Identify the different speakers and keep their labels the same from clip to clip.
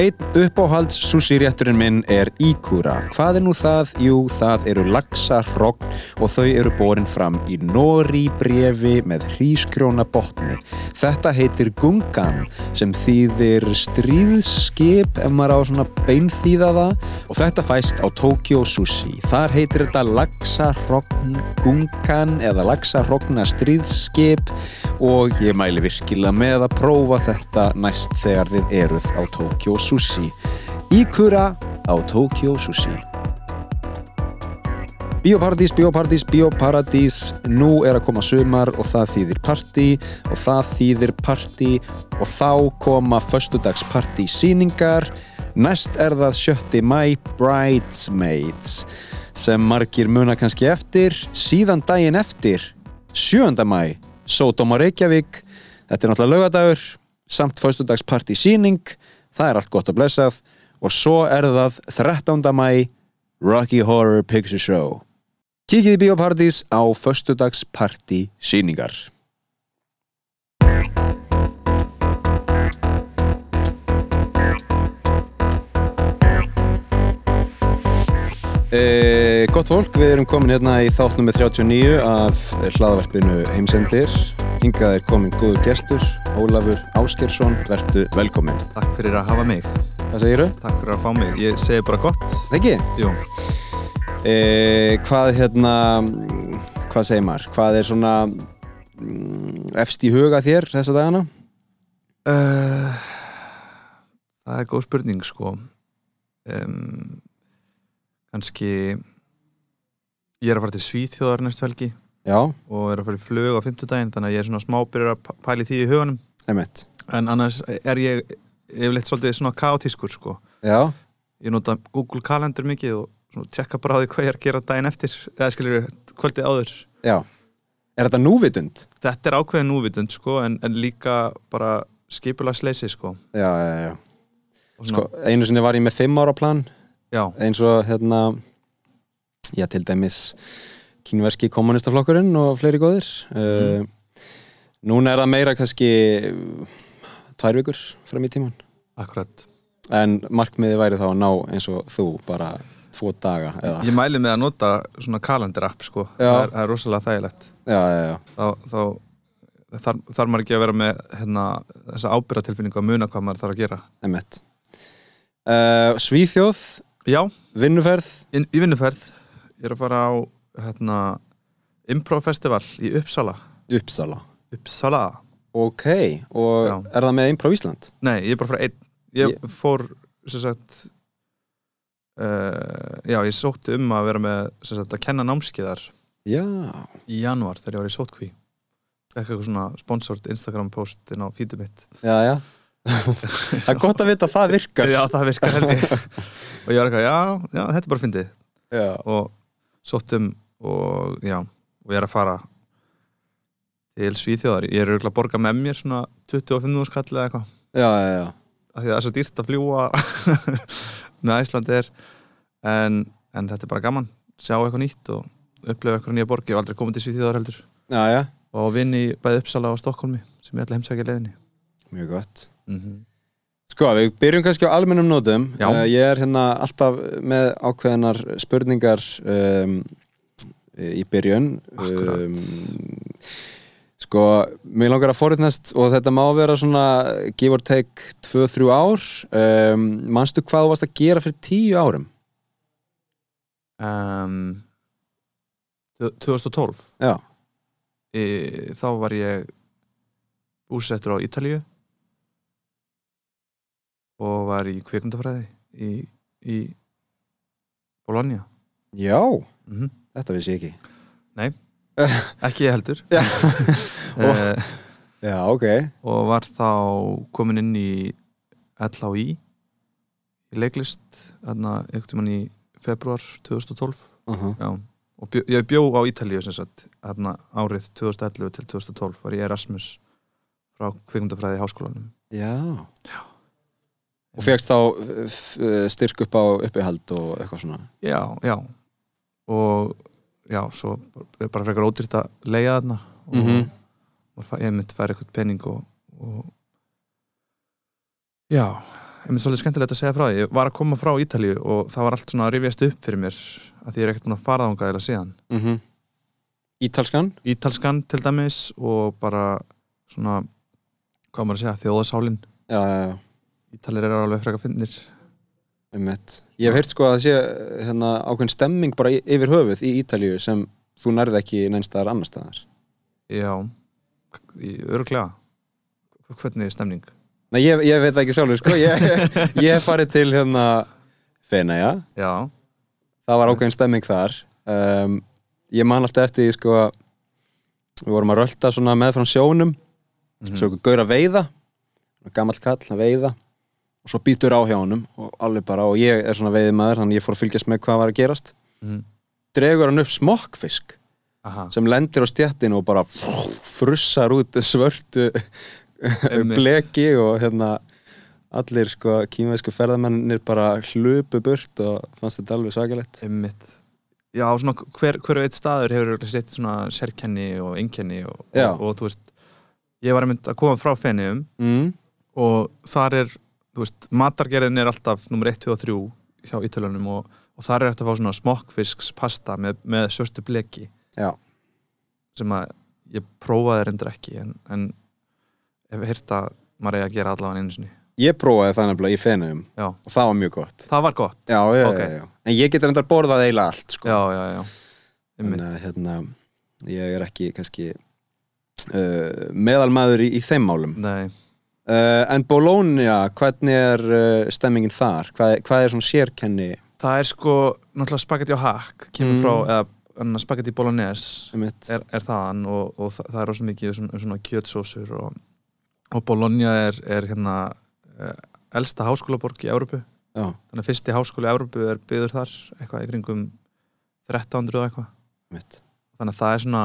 Speaker 1: Einn uppáhalds sushi-rétturinn minn er íkúra. Hvað er nú það? Jú, það eru laxarrogn og þau eru borin fram í nori brefi með hrískrjóna botni. Þetta heitir gungan sem þýðir stríðskip ef maður á svona beinþýða það og þetta fæst á Tokyo Sushi. Þar heitir þetta laxarrogn gungan eða laxarrogna stríðskip og ég mæli virkilega með að prófa þetta næst þegar þið eruð á Tokyo Sushi. Íkura á Tokyo Sushi. Bíóparadís, bíóparadís, bíóparadís, nú er að koma sumar og það þýðir partí og það þýðir partí og þá koma föstudagspartí síningar. Næst er það 7. mæ Bridesmaids sem margir muna kannski eftir, síðan daginn eftir, 7. mæ, Sódóma Reykjavík, þetta er náttúrulega laugadagur, samt föstudagspartí síning, það er allt gott að blessað og svo er það 13. mæ Rocky Horror Picture Show Kikið í Bíóparadís á föstudagsparti síningar E, gott fólk, við erum komin hérna í þáttnum með 39 af hlaðavarpinu heimsendir. Hingað er komin góður gestur, Ólafur Áskersson, vertu velkomin.
Speaker 2: Takk fyrir að hafa mig.
Speaker 1: Hvað segiru?
Speaker 2: Takk fyrir að fá mig. Ég segi bara gott.
Speaker 1: Þeggi?
Speaker 2: Jú.
Speaker 1: e, hvað hérna mm, hvað segir maður, hvað er svona mm, efst í huga þér þessa dagana
Speaker 2: Uh, það er góð spurning sko. Um, Kanski ég er að fara til Svíþjóðar næstu helgi
Speaker 1: já,
Speaker 2: og er að fara í flug á fimmtudaginn þannig að ég er svona smá byrjar að p- pæla í því í huganum
Speaker 1: emitt
Speaker 2: en annars er ég yfirleitt svolítið svona kaotískur sko.
Speaker 1: já,
Speaker 2: Ég nota Google Calendar mikið og svona tjekka bara á því hvað ég er að gera daginn eftir eða skilur kvöldið áður
Speaker 1: já er þetta núvitund?
Speaker 2: þetta er ákveðin núvitund sko, en, en líka bara skipulagsleysi sko.
Speaker 1: já, já, já,
Speaker 2: Og
Speaker 1: sko,
Speaker 2: svona-
Speaker 1: einu sinni var ég með fimm ára plan
Speaker 2: já,
Speaker 1: eins og hérna já, til dæmis kínverski kommunistaflokkurinn og fleiri góðir mm. núna er það meira kannski uh, tvær vikur fram í tíman
Speaker 2: akkurat
Speaker 1: en markmiði væri þá að ná eins og þú bara tvo daga eða,
Speaker 2: ég mæli með að nota svona kalendar app sko. það,
Speaker 1: Já.
Speaker 2: er, það er rosalega þægilegt
Speaker 1: já, já, já,
Speaker 2: þá, þá þar, þar maður ekki að vera með hérna, þessa ábyrratilfinningu að muna hvað maður þarf að gera
Speaker 1: emmett uh, Svíþjóð,
Speaker 2: já,
Speaker 1: vinnuferð
Speaker 2: inn, í vinnuferð ég er að fara á hérna, improv festival í Uppsala
Speaker 1: Uppsala,
Speaker 2: Uppsala
Speaker 1: ok og
Speaker 2: Já.
Speaker 1: er það með Improv Ísland?
Speaker 2: Nei, ég er bara frá einn Ég
Speaker 1: Ég-
Speaker 2: fór, sem sagt uh, Já, ég sótti um að vera með sem sagt, að kenna námskiðar
Speaker 1: Já,
Speaker 2: í janúar þegar ég var í sótkví eitthvað svona sponsored Instagram post inn á feedu mitt
Speaker 1: já, já það er gott að vita að það virkar
Speaker 2: Já, það virkar held ég og ég var eitthvað, já, já, þetta er bara fyndið
Speaker 1: já,
Speaker 2: og sótt um og já, og ég er að fara til Svíþjóðar ég er auðvitað að borga með mér svona 25 skall eða eitthvað
Speaker 1: já, já, já.
Speaker 2: af því að það er svo dýrt að fljúa með Æslandi er en, en þetta er bara gaman sjá eitthvað nýtt og upplifa eitthvað nýja borg ég hef aldrei komið til Svíþjóðar heldur
Speaker 1: já, já.
Speaker 2: og vinn í bæði Uppsala og Stokkólmi sem ég ætla að heimsækja í leiðinni
Speaker 1: mjög gott
Speaker 2: mm
Speaker 1: Sko, við byrjum kannski á almennum nótum.
Speaker 2: Já.
Speaker 1: Eh, ég er hérna alltaf með ákveðinar spurningar um, í byrjun. Ehm,
Speaker 2: Akkúrat.
Speaker 1: sko, mér langar að forutnast og þetta má vera svona give or take 2-3 ár. Um, manstu hvað þú varst að gera fyrir 10 árum?
Speaker 2: um, tvö- 2012
Speaker 1: Já,
Speaker 2: e, þá var ég úrsettur á Ítalíu og var í kvikmyndafræði í, í Bologna
Speaker 1: já,
Speaker 2: mm
Speaker 1: þetta vissi ég ekki.
Speaker 2: ekki ég heldur Eh,
Speaker 1: Já.
Speaker 2: og,
Speaker 1: Já, ok.
Speaker 2: og var þá komin inn í LHI í leiklist þarna einhvern tímann í februar 2012
Speaker 1: Uh
Speaker 2: já. og bjó, ég bjó á Ítalíu sem sagt þarna árið 2011 til 2012 var ég Erasmus frá kvikmyndafræði í háskólanum
Speaker 1: Já. Og fegst þá eh, f- eh, styrk upp á uppihald og eitthvað svona.
Speaker 2: já, já og já, svo er bara frekar ódýrt að leiða þarna og
Speaker 1: Mhm.
Speaker 2: maður fæ- ég myndi færa eitthvað pening og, og já, Ég myndi svolítið skemmtilegt að segja frá því. Ég var að koma frá Ítalíu og það var allt svona að rifjast upp fyrir mér að því ég er ekkert búin að fara þangað eða síðan.
Speaker 1: mm -hmm. Ítalskan
Speaker 2: Ítalskan til dæmis og bara svona, hvað á maður að segja, þjóðasálin.
Speaker 1: já, já, já,
Speaker 2: Ítalir eru alveg frekar finnir.
Speaker 1: um Ég hef heyrt sko að það sé hérna, ákveðin stemming bara í- yfir höfuð í Ítalíu sem þú nærði ekki nænstaðar annar staðar
Speaker 2: Já, öruglega. Hvernig er stemning?
Speaker 1: Nei, ég, ég veit það ekki sjálfur sko Ég, ég hef farið til hérna Fenaja
Speaker 2: Já,
Speaker 1: það var ákveðin stemming þar um, ég man alltaf eftir því, sko að við vorum að rölda svona með frá sjónum
Speaker 2: Mhm.
Speaker 1: svo okkur gaur að veiða gamall kall að veiða og svo býtur á hjá honum og alveg bara og ég er svona veiðmaður þannig ég fór að fylgjast með hvað var að gerast
Speaker 2: Mhm.
Speaker 1: dregur hann upp smokkfisk
Speaker 2: aha.
Speaker 1: sem lendir á stjættinu og bara frussar út svörtu
Speaker 2: Einmitt.
Speaker 1: bleki og hérna allir sko kýmveðsku ferðamennir bara hlupu burt og fannst þetta alveg svakalegt
Speaker 2: Einmitt. Já, svona hver, hver og eitt staður hefur örugglega sitt svona sérkenni og einkenni og,
Speaker 1: Já.
Speaker 2: og, og þú veist, ég var einmitt að koma frá fenniðum
Speaker 1: mm.
Speaker 2: og þar er, þú veist, matargerðin er alltaf nummer 1, 2 og 3 hjá Ítalunum og, og þar er hægt að fá svona smokkfiskspasta með, með svörtu bleki
Speaker 1: Já.
Speaker 2: sem að ég prófaði reyndar ekki en, en hef heyrt að maður eigi að gera allavega einu sinni
Speaker 1: Ég prófaði það nefnilega í fenum
Speaker 2: Já.
Speaker 1: og það var mjög gott
Speaker 2: það var gott,
Speaker 1: Já, já,
Speaker 2: Ok.
Speaker 1: já, já. En ég get reyndar borðað eiginlega allt sko.
Speaker 2: já, já, já
Speaker 1: Þannig
Speaker 2: einmitt,
Speaker 1: að hérna, ég er ekki kannski uh, meðalmaður í, í þeim málum
Speaker 2: nei
Speaker 1: uh, En Bologna, hvernig er uh, stemmingin þar? Hvað, hvað er svona sérkenni
Speaker 2: það er sko náttúrulega spagetti og hakk kemur
Speaker 1: Mm.
Speaker 2: frá, eða annars spagetti bolognese
Speaker 1: um mitt?
Speaker 2: er, er þaðan og, og það, það er rosa mikið um svona, svona kjötsósur og, og Bologna er, er hérna eh, elsta háskólaborg í Európu
Speaker 1: Já,
Speaker 2: þannig að fyrsti háskóli í Európu er byður þar eitthvað í kringum 1300 og eitthvað
Speaker 1: mitt
Speaker 2: þannig að það er svona,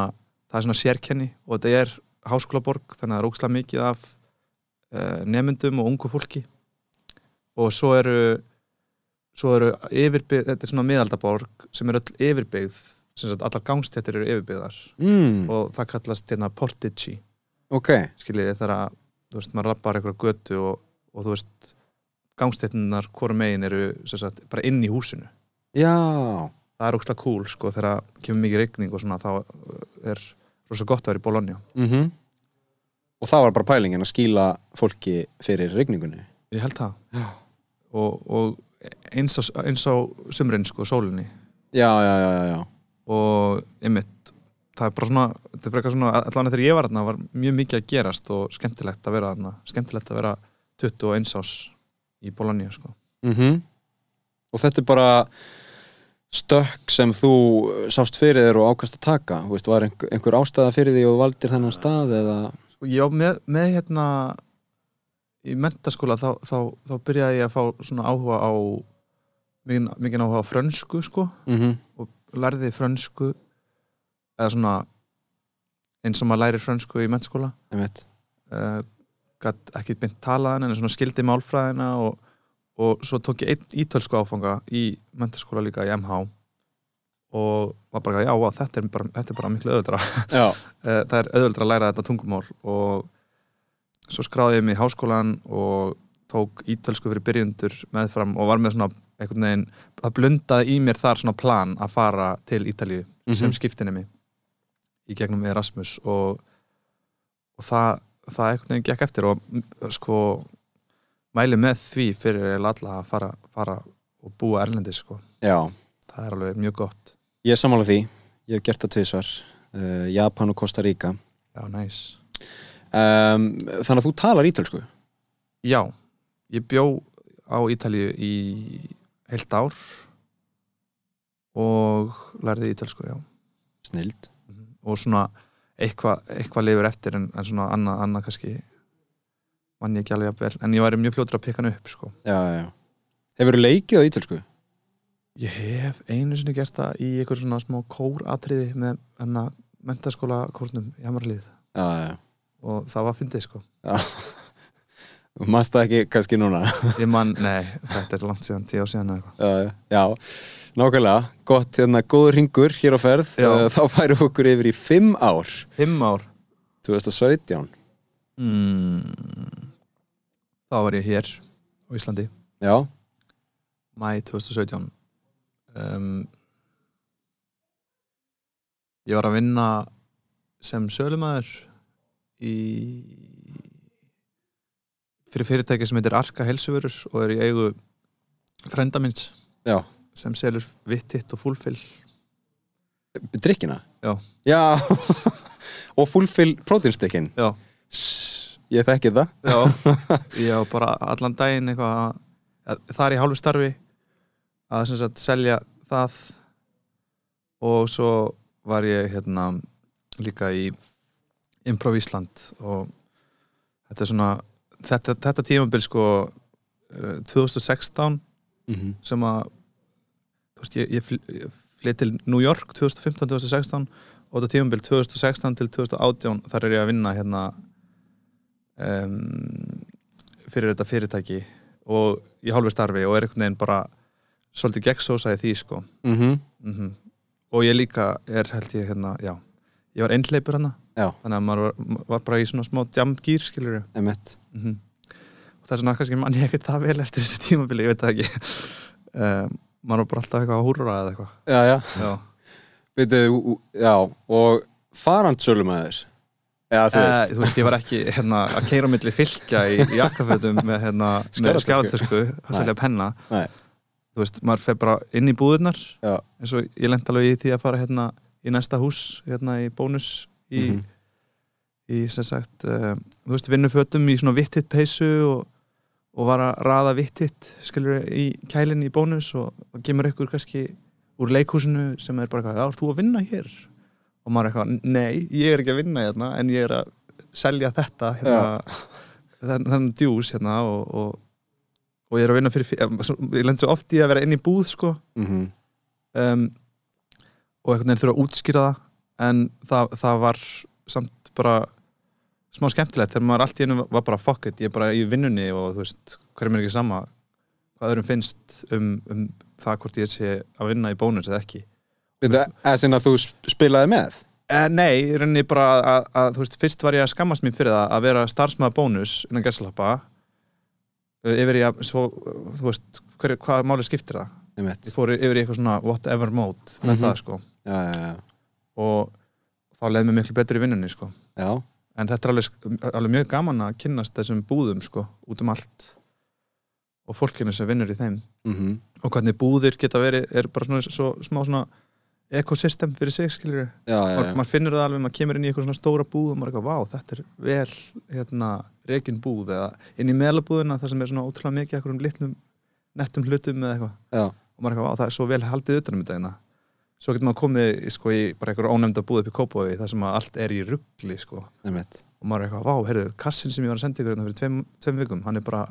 Speaker 2: það er svona sérkenni og þetta er háskólaborg þannig að það er ókslega mikið af uh, nemyndum og ungu fólki og svo eru svo eru yfirbyggð, þetta er svona miðaldaborg sem er öll yfirbyggð sem sagt allar gangstættir eru yfirbyggðar
Speaker 1: mm,
Speaker 2: og það kallast hérna Portici
Speaker 1: Ok,
Speaker 2: skiljið þegar að þú veist, maður rappar eitthvað götu og, og þú veist, gangstéttinnar hvora megin eru sem sagt, bara inn í húsinu
Speaker 1: já
Speaker 2: það er ógslag cool sko, þegar að kemur mikið regning og svona, þá uh, er rosa gott að vera í Bologna
Speaker 1: mm Og það var bara pælingin að skýla fólki fyrir rigningunni
Speaker 2: ég held það
Speaker 1: Já.
Speaker 2: og, og eins, á, eins á sumrin, sko, sólinni
Speaker 1: Já, já, já, já, já.
Speaker 2: og einmitt það er bara svona, þetta er frekar svona allan þegar ég var þarna var mjög mikið að gerast og skemmtilegt að vera þarna, skemmtilegt að vera 21 ás í Bologna sko.
Speaker 1: -hmm. og þetta er bara stökk sem þú uh, sást fyrir þér og ákast að taka Þú veist, var einhver, einhver ástæða fyrir því og þú valdir þennan stað eða
Speaker 2: Sko, já, með, með hérna í mentaskóla þá, þá, þá byrjaði ég að fá svona áhuga á mikinn mikinn áhuga á frönsku sko
Speaker 1: mm -hmm.
Speaker 2: lærði frönsku eða svona eins og maður læri frönsku í mentaskóla uh, gat ekki beint talaðan en svona skildi málfræðina og, og svo tók ég einn ítölsku áfanga í mentaskóla líka í MH og var bara, já, vá, þetta er bara, þetta er bara miklu öðvöldra
Speaker 1: já,
Speaker 2: Eh, það er auðvöldra að læra þetta tungumál og svo skráði ég mig í háskólan og tók ítölsku fyrir byrjendur meðfram og var með svona einhvern veginn, það blundaði í mér þar svona plan að fara til Ítalíu
Speaker 1: Mhm. Mm-hmm.
Speaker 2: sem skiptinni mig í gegnum Erasmus og, og það, það einhvern veginn gekk eftir og mm, sko mæli með því fyrir eiginlega alla að fara, fara og búa erlendis sko,
Speaker 1: já,
Speaker 2: það er alveg mjög gott
Speaker 1: ég er sammála því ég hef gert það tvisvar uh, Japan og Costa Rica
Speaker 2: já, næs
Speaker 1: um, þannig að þú talar ítölsku
Speaker 2: Já, ég bjó á Ítalíu í heilt ár og lærði ítalsku, já.
Speaker 1: snild
Speaker 2: Og svona eitthvað eitthva lifur eftir en, en svona annað anna kannski mann ég ekki alveg að vel. En ég væri mjög fljótur að peka hann upp, sko.
Speaker 1: já, já, já. hefur þú leikið á ítölsku?
Speaker 2: Ég hef einu sinni gert það í einhver svona smá kóratriði með hennar mentaskóla kórnum í Hamarlið
Speaker 1: já, já, já.
Speaker 2: og það var fyndið, sko.
Speaker 1: mannst það ekki kannski núna
Speaker 2: Ég man, nei, þetta er langt síðan, tíu á síðan eða eitthvað.
Speaker 1: Já, já, nákvæmlega, gott, hérna, góður ringur hér á ferð,
Speaker 2: Já.
Speaker 1: Eh, þá færum við okkur yfir í fimm ár,
Speaker 2: Fimm ár.
Speaker 1: 2017,
Speaker 2: Mm, þá var ég hér á Íslandi
Speaker 1: já,
Speaker 2: mæ 2017 um, ég var að vinna sem sölumæður í fyrir fyrirtæki sem heitir Arka Helsuvörur og er í eigu frenda minns
Speaker 1: já
Speaker 2: sem selur vittitt og fullfill
Speaker 1: drikkina?
Speaker 2: Já.
Speaker 1: Já, og fullfill próteinstykkin
Speaker 2: já,
Speaker 1: Sss, Ég þekki það
Speaker 2: já ég á bara allan daginn eitthvað að- að það er í hálfu starfi að sem sagt selja það og svo var ég hérna líka í Improv Ísland og þetta er svona þetta, þetta tímabil sko eh, 2016
Speaker 1: -hmm.
Speaker 2: sem að þú veist, ég, ég, fl- ég flytt til New York 2015-2016 og þetta tímabil 2016 til 2018 þar er ég að vinna hérna um, fyrir þetta fyrirtæki og í hálfi starfi og er einhvern veginn bara svolítið gegnsósa í því sko
Speaker 1: Mm -hmm.
Speaker 2: mm og ég líka er held ég hérna, já, ég var einhleipur hana
Speaker 1: Já.
Speaker 2: þannig að maður var, var bara í svona smá jamgýr skilur við
Speaker 1: Emmett
Speaker 2: mm og þess vegna kannski mann ég ekkert það vel eftir þessi tímabili, ég veit það ekki um, maður var bara alltaf eitthvað að húrra eða eitthvað
Speaker 1: Já, já,
Speaker 2: já,
Speaker 1: Veitu, ú- ú- já og farand sölumæður Já, þú
Speaker 2: Eh,
Speaker 1: veist
Speaker 2: þú veist, ég var ekki hérna, að keira á milli fylgja í, í jakkafötum með, hérna, með
Speaker 1: Skjalatösku.
Speaker 2: skjáratösku að
Speaker 1: Nei.
Speaker 2: selja penna
Speaker 1: Nei.
Speaker 2: þú veist, maður fer bara inn í búðurnar
Speaker 1: Já.
Speaker 2: eins og ég lent alveg í því að fara hérna, í næsta hús, hérna í bónus í,
Speaker 1: Mhm.
Speaker 2: í sem sagt, um, þú veist, vinnufötum í svona vittitt peysu og, og var að raða vittitt, skilur í kælinn í bónus og, og kemur ykkur kannski úr leikhúsinu sem er bara eitthvað, þá ert þú að vinna hér og maður er eitthvað, nei, ég er ekki að vinna hérna en ég er að selja þetta hérna, þenn- þennan djús hérna og, og, og ég er að vinna fyrir fyrir- ég lend svo oft í að vera inn í búð sko
Speaker 1: Mhm.
Speaker 2: um, og einhvern veginn þurfa að útskýra það en það, það var samt bara smá skemmtilegt þegar maður allt í einu var bara fuck it, ég er bara í vinnunni og þú veist, hver er mér ekki sama hvað öðrum finnst um, um það hvort ég sé að vinna í bónus eða ekki
Speaker 1: Veitu, eða sinna þú sp- spilaði með
Speaker 2: Eh, nei, í rauninni bara að, að, þú veist, fyrst var ég að skammast mér fyrir það að vera starfsmaður bónus innan gæstlappa yfir í að, svo, eh, þú veist, hver, hvað máli skiptir það?
Speaker 1: Emmett
Speaker 2: Ég fór yfir í eitthvað svona whatever mode með
Speaker 1: Mhm.
Speaker 2: það, sko
Speaker 1: Já, já, já,
Speaker 2: og þá leið mér miklu betur í vinnunni, sko
Speaker 1: já.
Speaker 2: en þetta er alveg, sk- alveg mjög gaman að kynnast þessum búðum, sko, út um allt og fólkinu sem vinnur í þeim
Speaker 1: Mm
Speaker 2: og hvernig búðir geta verið er bara svona, svo, smá svona ekosystem fyrir sig, skiljur
Speaker 1: já, já,
Speaker 2: maður
Speaker 1: já.
Speaker 2: maður finnur það alveg, maður kemur inn í eitthvað svona stóra búð og maður er eitthvað, vá, þetta er vel hérna, rekin búð eða inn í meðlabúðina þar sem er svona ótrúlega mikið eitthvað um litlum, nettum hlutum eða eitthvað
Speaker 1: Já.
Speaker 2: og maður er eitthvað, vá, það er svo vel haldið utanum þetta hérna svo getur maður komið í, sko, í bara eitthvað ónefnda búð upp í Kópavogi þar sem að allt er í ruggli sko.
Speaker 1: Emmett
Speaker 2: og maður er eitthvað, vá, heyrðu, kassin sem ég var að senda ykkur hérna fyrir tveim, tveim vikum, hann er bara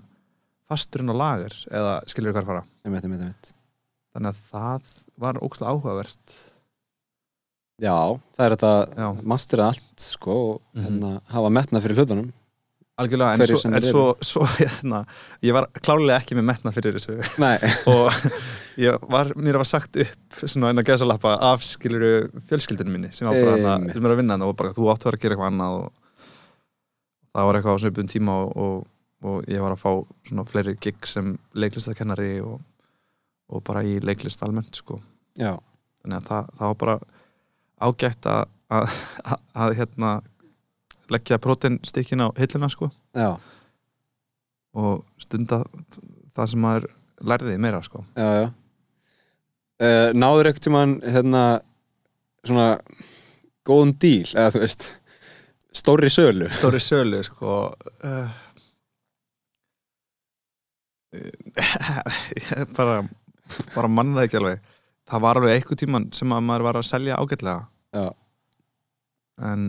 Speaker 2: fasturinn á lager eða skilur hvað er að fara
Speaker 1: Emmett, Emmett, Emmett
Speaker 2: þannig að það var ókslega áhugavert
Speaker 1: Já, það er þetta
Speaker 2: Já.
Speaker 1: mastera allt sko og
Speaker 2: Mhm.
Speaker 1: hérna, hafa metna fyrir hlutunum
Speaker 2: Algjörlega, en,
Speaker 1: Hverjir
Speaker 2: svo,
Speaker 1: sem
Speaker 2: en
Speaker 1: þeir
Speaker 2: svo, svo hérna, ég var klálega ekki með metna fyrir þessu
Speaker 1: Nei,
Speaker 2: og ég var, mér var sagt upp svona einn að geðsa lappa af skiluru fjölskyldunum minni sem, var bara, hana,
Speaker 1: Einmitt.
Speaker 2: sem er að vinna hana og bara þú átt að vera að gera eitthvað annað og það var eitthvað á svipum tíma og, og, og ég var að fá svona fleiri gig sem leiklistakennari og, og bara í leiklist almennt sko
Speaker 1: já,
Speaker 2: þannig að það, það var bara ágætt að, að, að, að hérna leggja próteinstykkin á hillina sko
Speaker 1: já,
Speaker 2: og stunda það sem maður lærði meira sko
Speaker 1: já, já. Uh, náður ekkert tímann hérna svona góðum díl eða þú veist stórri sölu
Speaker 2: Stóri sölu sko uh, ég bara bara manna það ekki alveg það var alveg einhver tíman sem að maður var að selja ágætlega
Speaker 1: Já.
Speaker 2: en,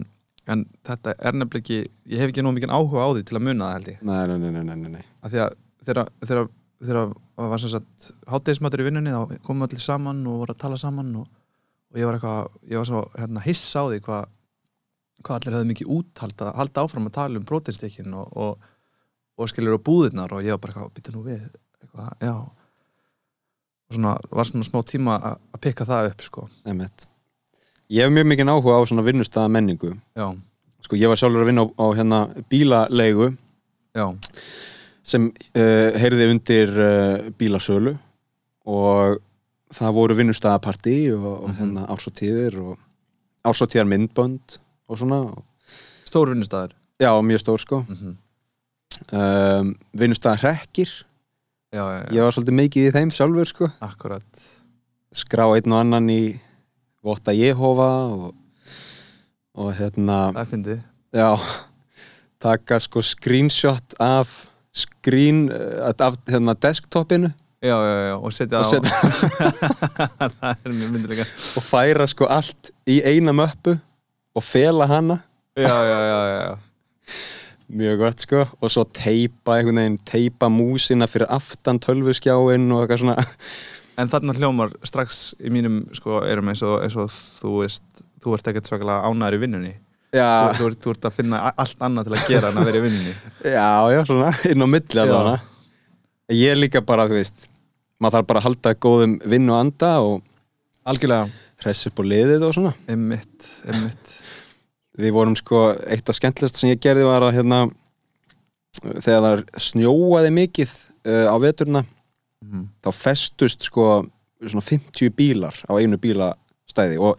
Speaker 2: en þetta er nefnilega ekki ég hef ekki nóg mikið áhuga á því til að muna það held ég
Speaker 1: Nei, nei, nei, nei, nei, nei
Speaker 2: af því að þegar þegar- þegar það var sem sagt hátæðismatur í vinnunni þá komum allir saman og voru að tala saman og, og ég var eitthvað, ég var svo hérna hissa á því hvað hvað allir höfðu mikið úthald að halda áfram að tala um brotinstykkin og, og, og skilur og búðirnar og ég var bara eitthvað, býta nú við eitthvað, já og svona, var svona smá tíma að að pikka það upp sko,
Speaker 1: Einmitt. Ég hef mjög mikið áhuga á svona vinnustaða menningu
Speaker 2: já,
Speaker 1: sko ég var sjálfur að vinna á, á hérna bílalegu
Speaker 2: já
Speaker 1: sem uh, heyrði undir uh, bílasölu og það voru vinnustæðapartí og, og
Speaker 2: Mhm.
Speaker 1: hérna ársótíðir og ársótíðar myndbönd og svona og,
Speaker 2: Stór vinnustæður
Speaker 1: já, mjög stór sko
Speaker 2: mm -hmm.
Speaker 1: um, vinnustæðar hrekkir
Speaker 2: Já, já, já,
Speaker 1: ég var svolítið mikið í þeim sjálfur sko
Speaker 2: akkurat
Speaker 1: skrá einn og annan í Votta Jehova og, og hérna
Speaker 2: Það er fyndið
Speaker 1: já, taka sko screenshot af screen, eh, af hérna desktopinu
Speaker 2: Já, já, já, og setja
Speaker 1: og,
Speaker 2: á-
Speaker 1: setja,
Speaker 2: Það er mjög myndilega
Speaker 1: og færa sko allt í eina möppu og fela hana
Speaker 2: Já, já, já, já, já
Speaker 1: mjög gott sko og svo teipa einhvern veginn, teipa músina fyrir aftan tölvuskjáin og eitthvað svona
Speaker 2: En þarna hljómar strax í mínum sko, erum eins og, eins og þú veist þú ert ekkert svakalega ánæður í vinnunni
Speaker 1: já,
Speaker 2: þú, þú, ert, þú ert að finna a- allt annað til að gera en að vera í vinnunni
Speaker 1: Já, já, svona, inn á milli að þána Ég er líka bara, þú veist maður þarf bara að halda góðum vinn og anda og
Speaker 2: Algjörlega
Speaker 1: hress upp á liðið og svona
Speaker 2: Emmitt, emmitt
Speaker 1: Við vorum sko, eitt af skemmtilegst sem ég gerði var að hérna þegar það snjóaði mikið uh, á veturna
Speaker 2: Mhm.
Speaker 1: þá festust sko svona 50 bílar á einu bílastæði og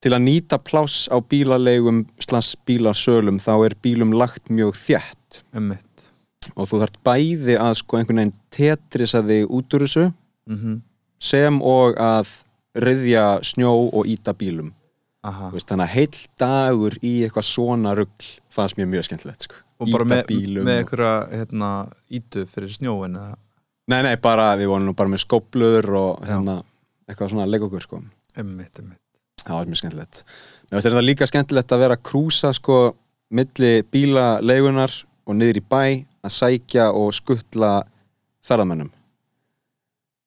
Speaker 1: til að nýta pláss á bílaleigum slags bílasölum þá er bílum lagt mjög þjætt
Speaker 2: Emmitt
Speaker 1: og þú þarft bæði að sko einhvern veginn tetrisa þig út úr þessu
Speaker 2: mm
Speaker 1: sem og að riðja snjó og íta bílum
Speaker 2: Aha
Speaker 1: Þú veist, þannig að heill dagur í eitthvað svona rugl fannst mér mjög skemmtilegt sko.
Speaker 2: Og bara með,
Speaker 1: bílum
Speaker 2: með
Speaker 1: og-
Speaker 2: einhverja hérna, ítu fyrir snjóin eða
Speaker 1: Nei, nei, bara, við vorum nú bara með skóplur og hérna, eitthvað svona leikokur sko.
Speaker 2: Emmitt, emmitt
Speaker 1: það var mjög skemmtilegt Mér finnst þetta líka skemmtilegt að vera að krúsa sko, milli bílaleigunar og niður í bæ að sækja og skuttla ferðamönnum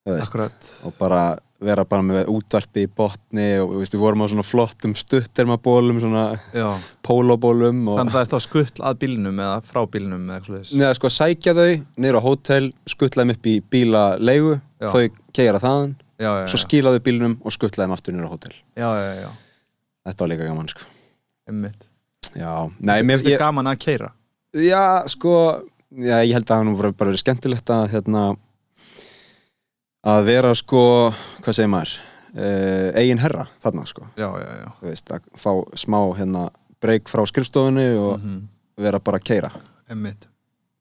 Speaker 1: Þú veist.
Speaker 2: Akkurat
Speaker 1: og bara vera bara með útvarpi í botni og við, við vorum á svona flottum stuttermabólum, svona
Speaker 2: Já
Speaker 1: pólobólum og
Speaker 2: Þannig að það er þá skuttl að bílnum eða frá bílnum eða eitthvað svoleiðis.
Speaker 1: neða sko sækja þau niður á hótel, skuttla þeim upp í bílalegu,
Speaker 2: Já.
Speaker 1: þau keira þaðan
Speaker 2: Já, já,
Speaker 1: svo
Speaker 2: já,
Speaker 1: skila þau bílnum og skuttla þeim aftur niður á hótel
Speaker 2: já, já, já,
Speaker 1: þetta var líka gaman sko
Speaker 2: emmitt
Speaker 1: já, nei, mér
Speaker 2: Þetta er
Speaker 1: finnst
Speaker 2: gaman að keira
Speaker 1: ég já, sko, já, ég held að hann var bara verið skemmtilegt að hérna að vera sko hvað segir maður, uh, eigin herra þarna sko
Speaker 2: Já, já, já
Speaker 1: þú veist, að fá smá hérna breyk frá skrifstofunni og
Speaker 2: Mhm.
Speaker 1: vera bara að keira
Speaker 2: Emmitt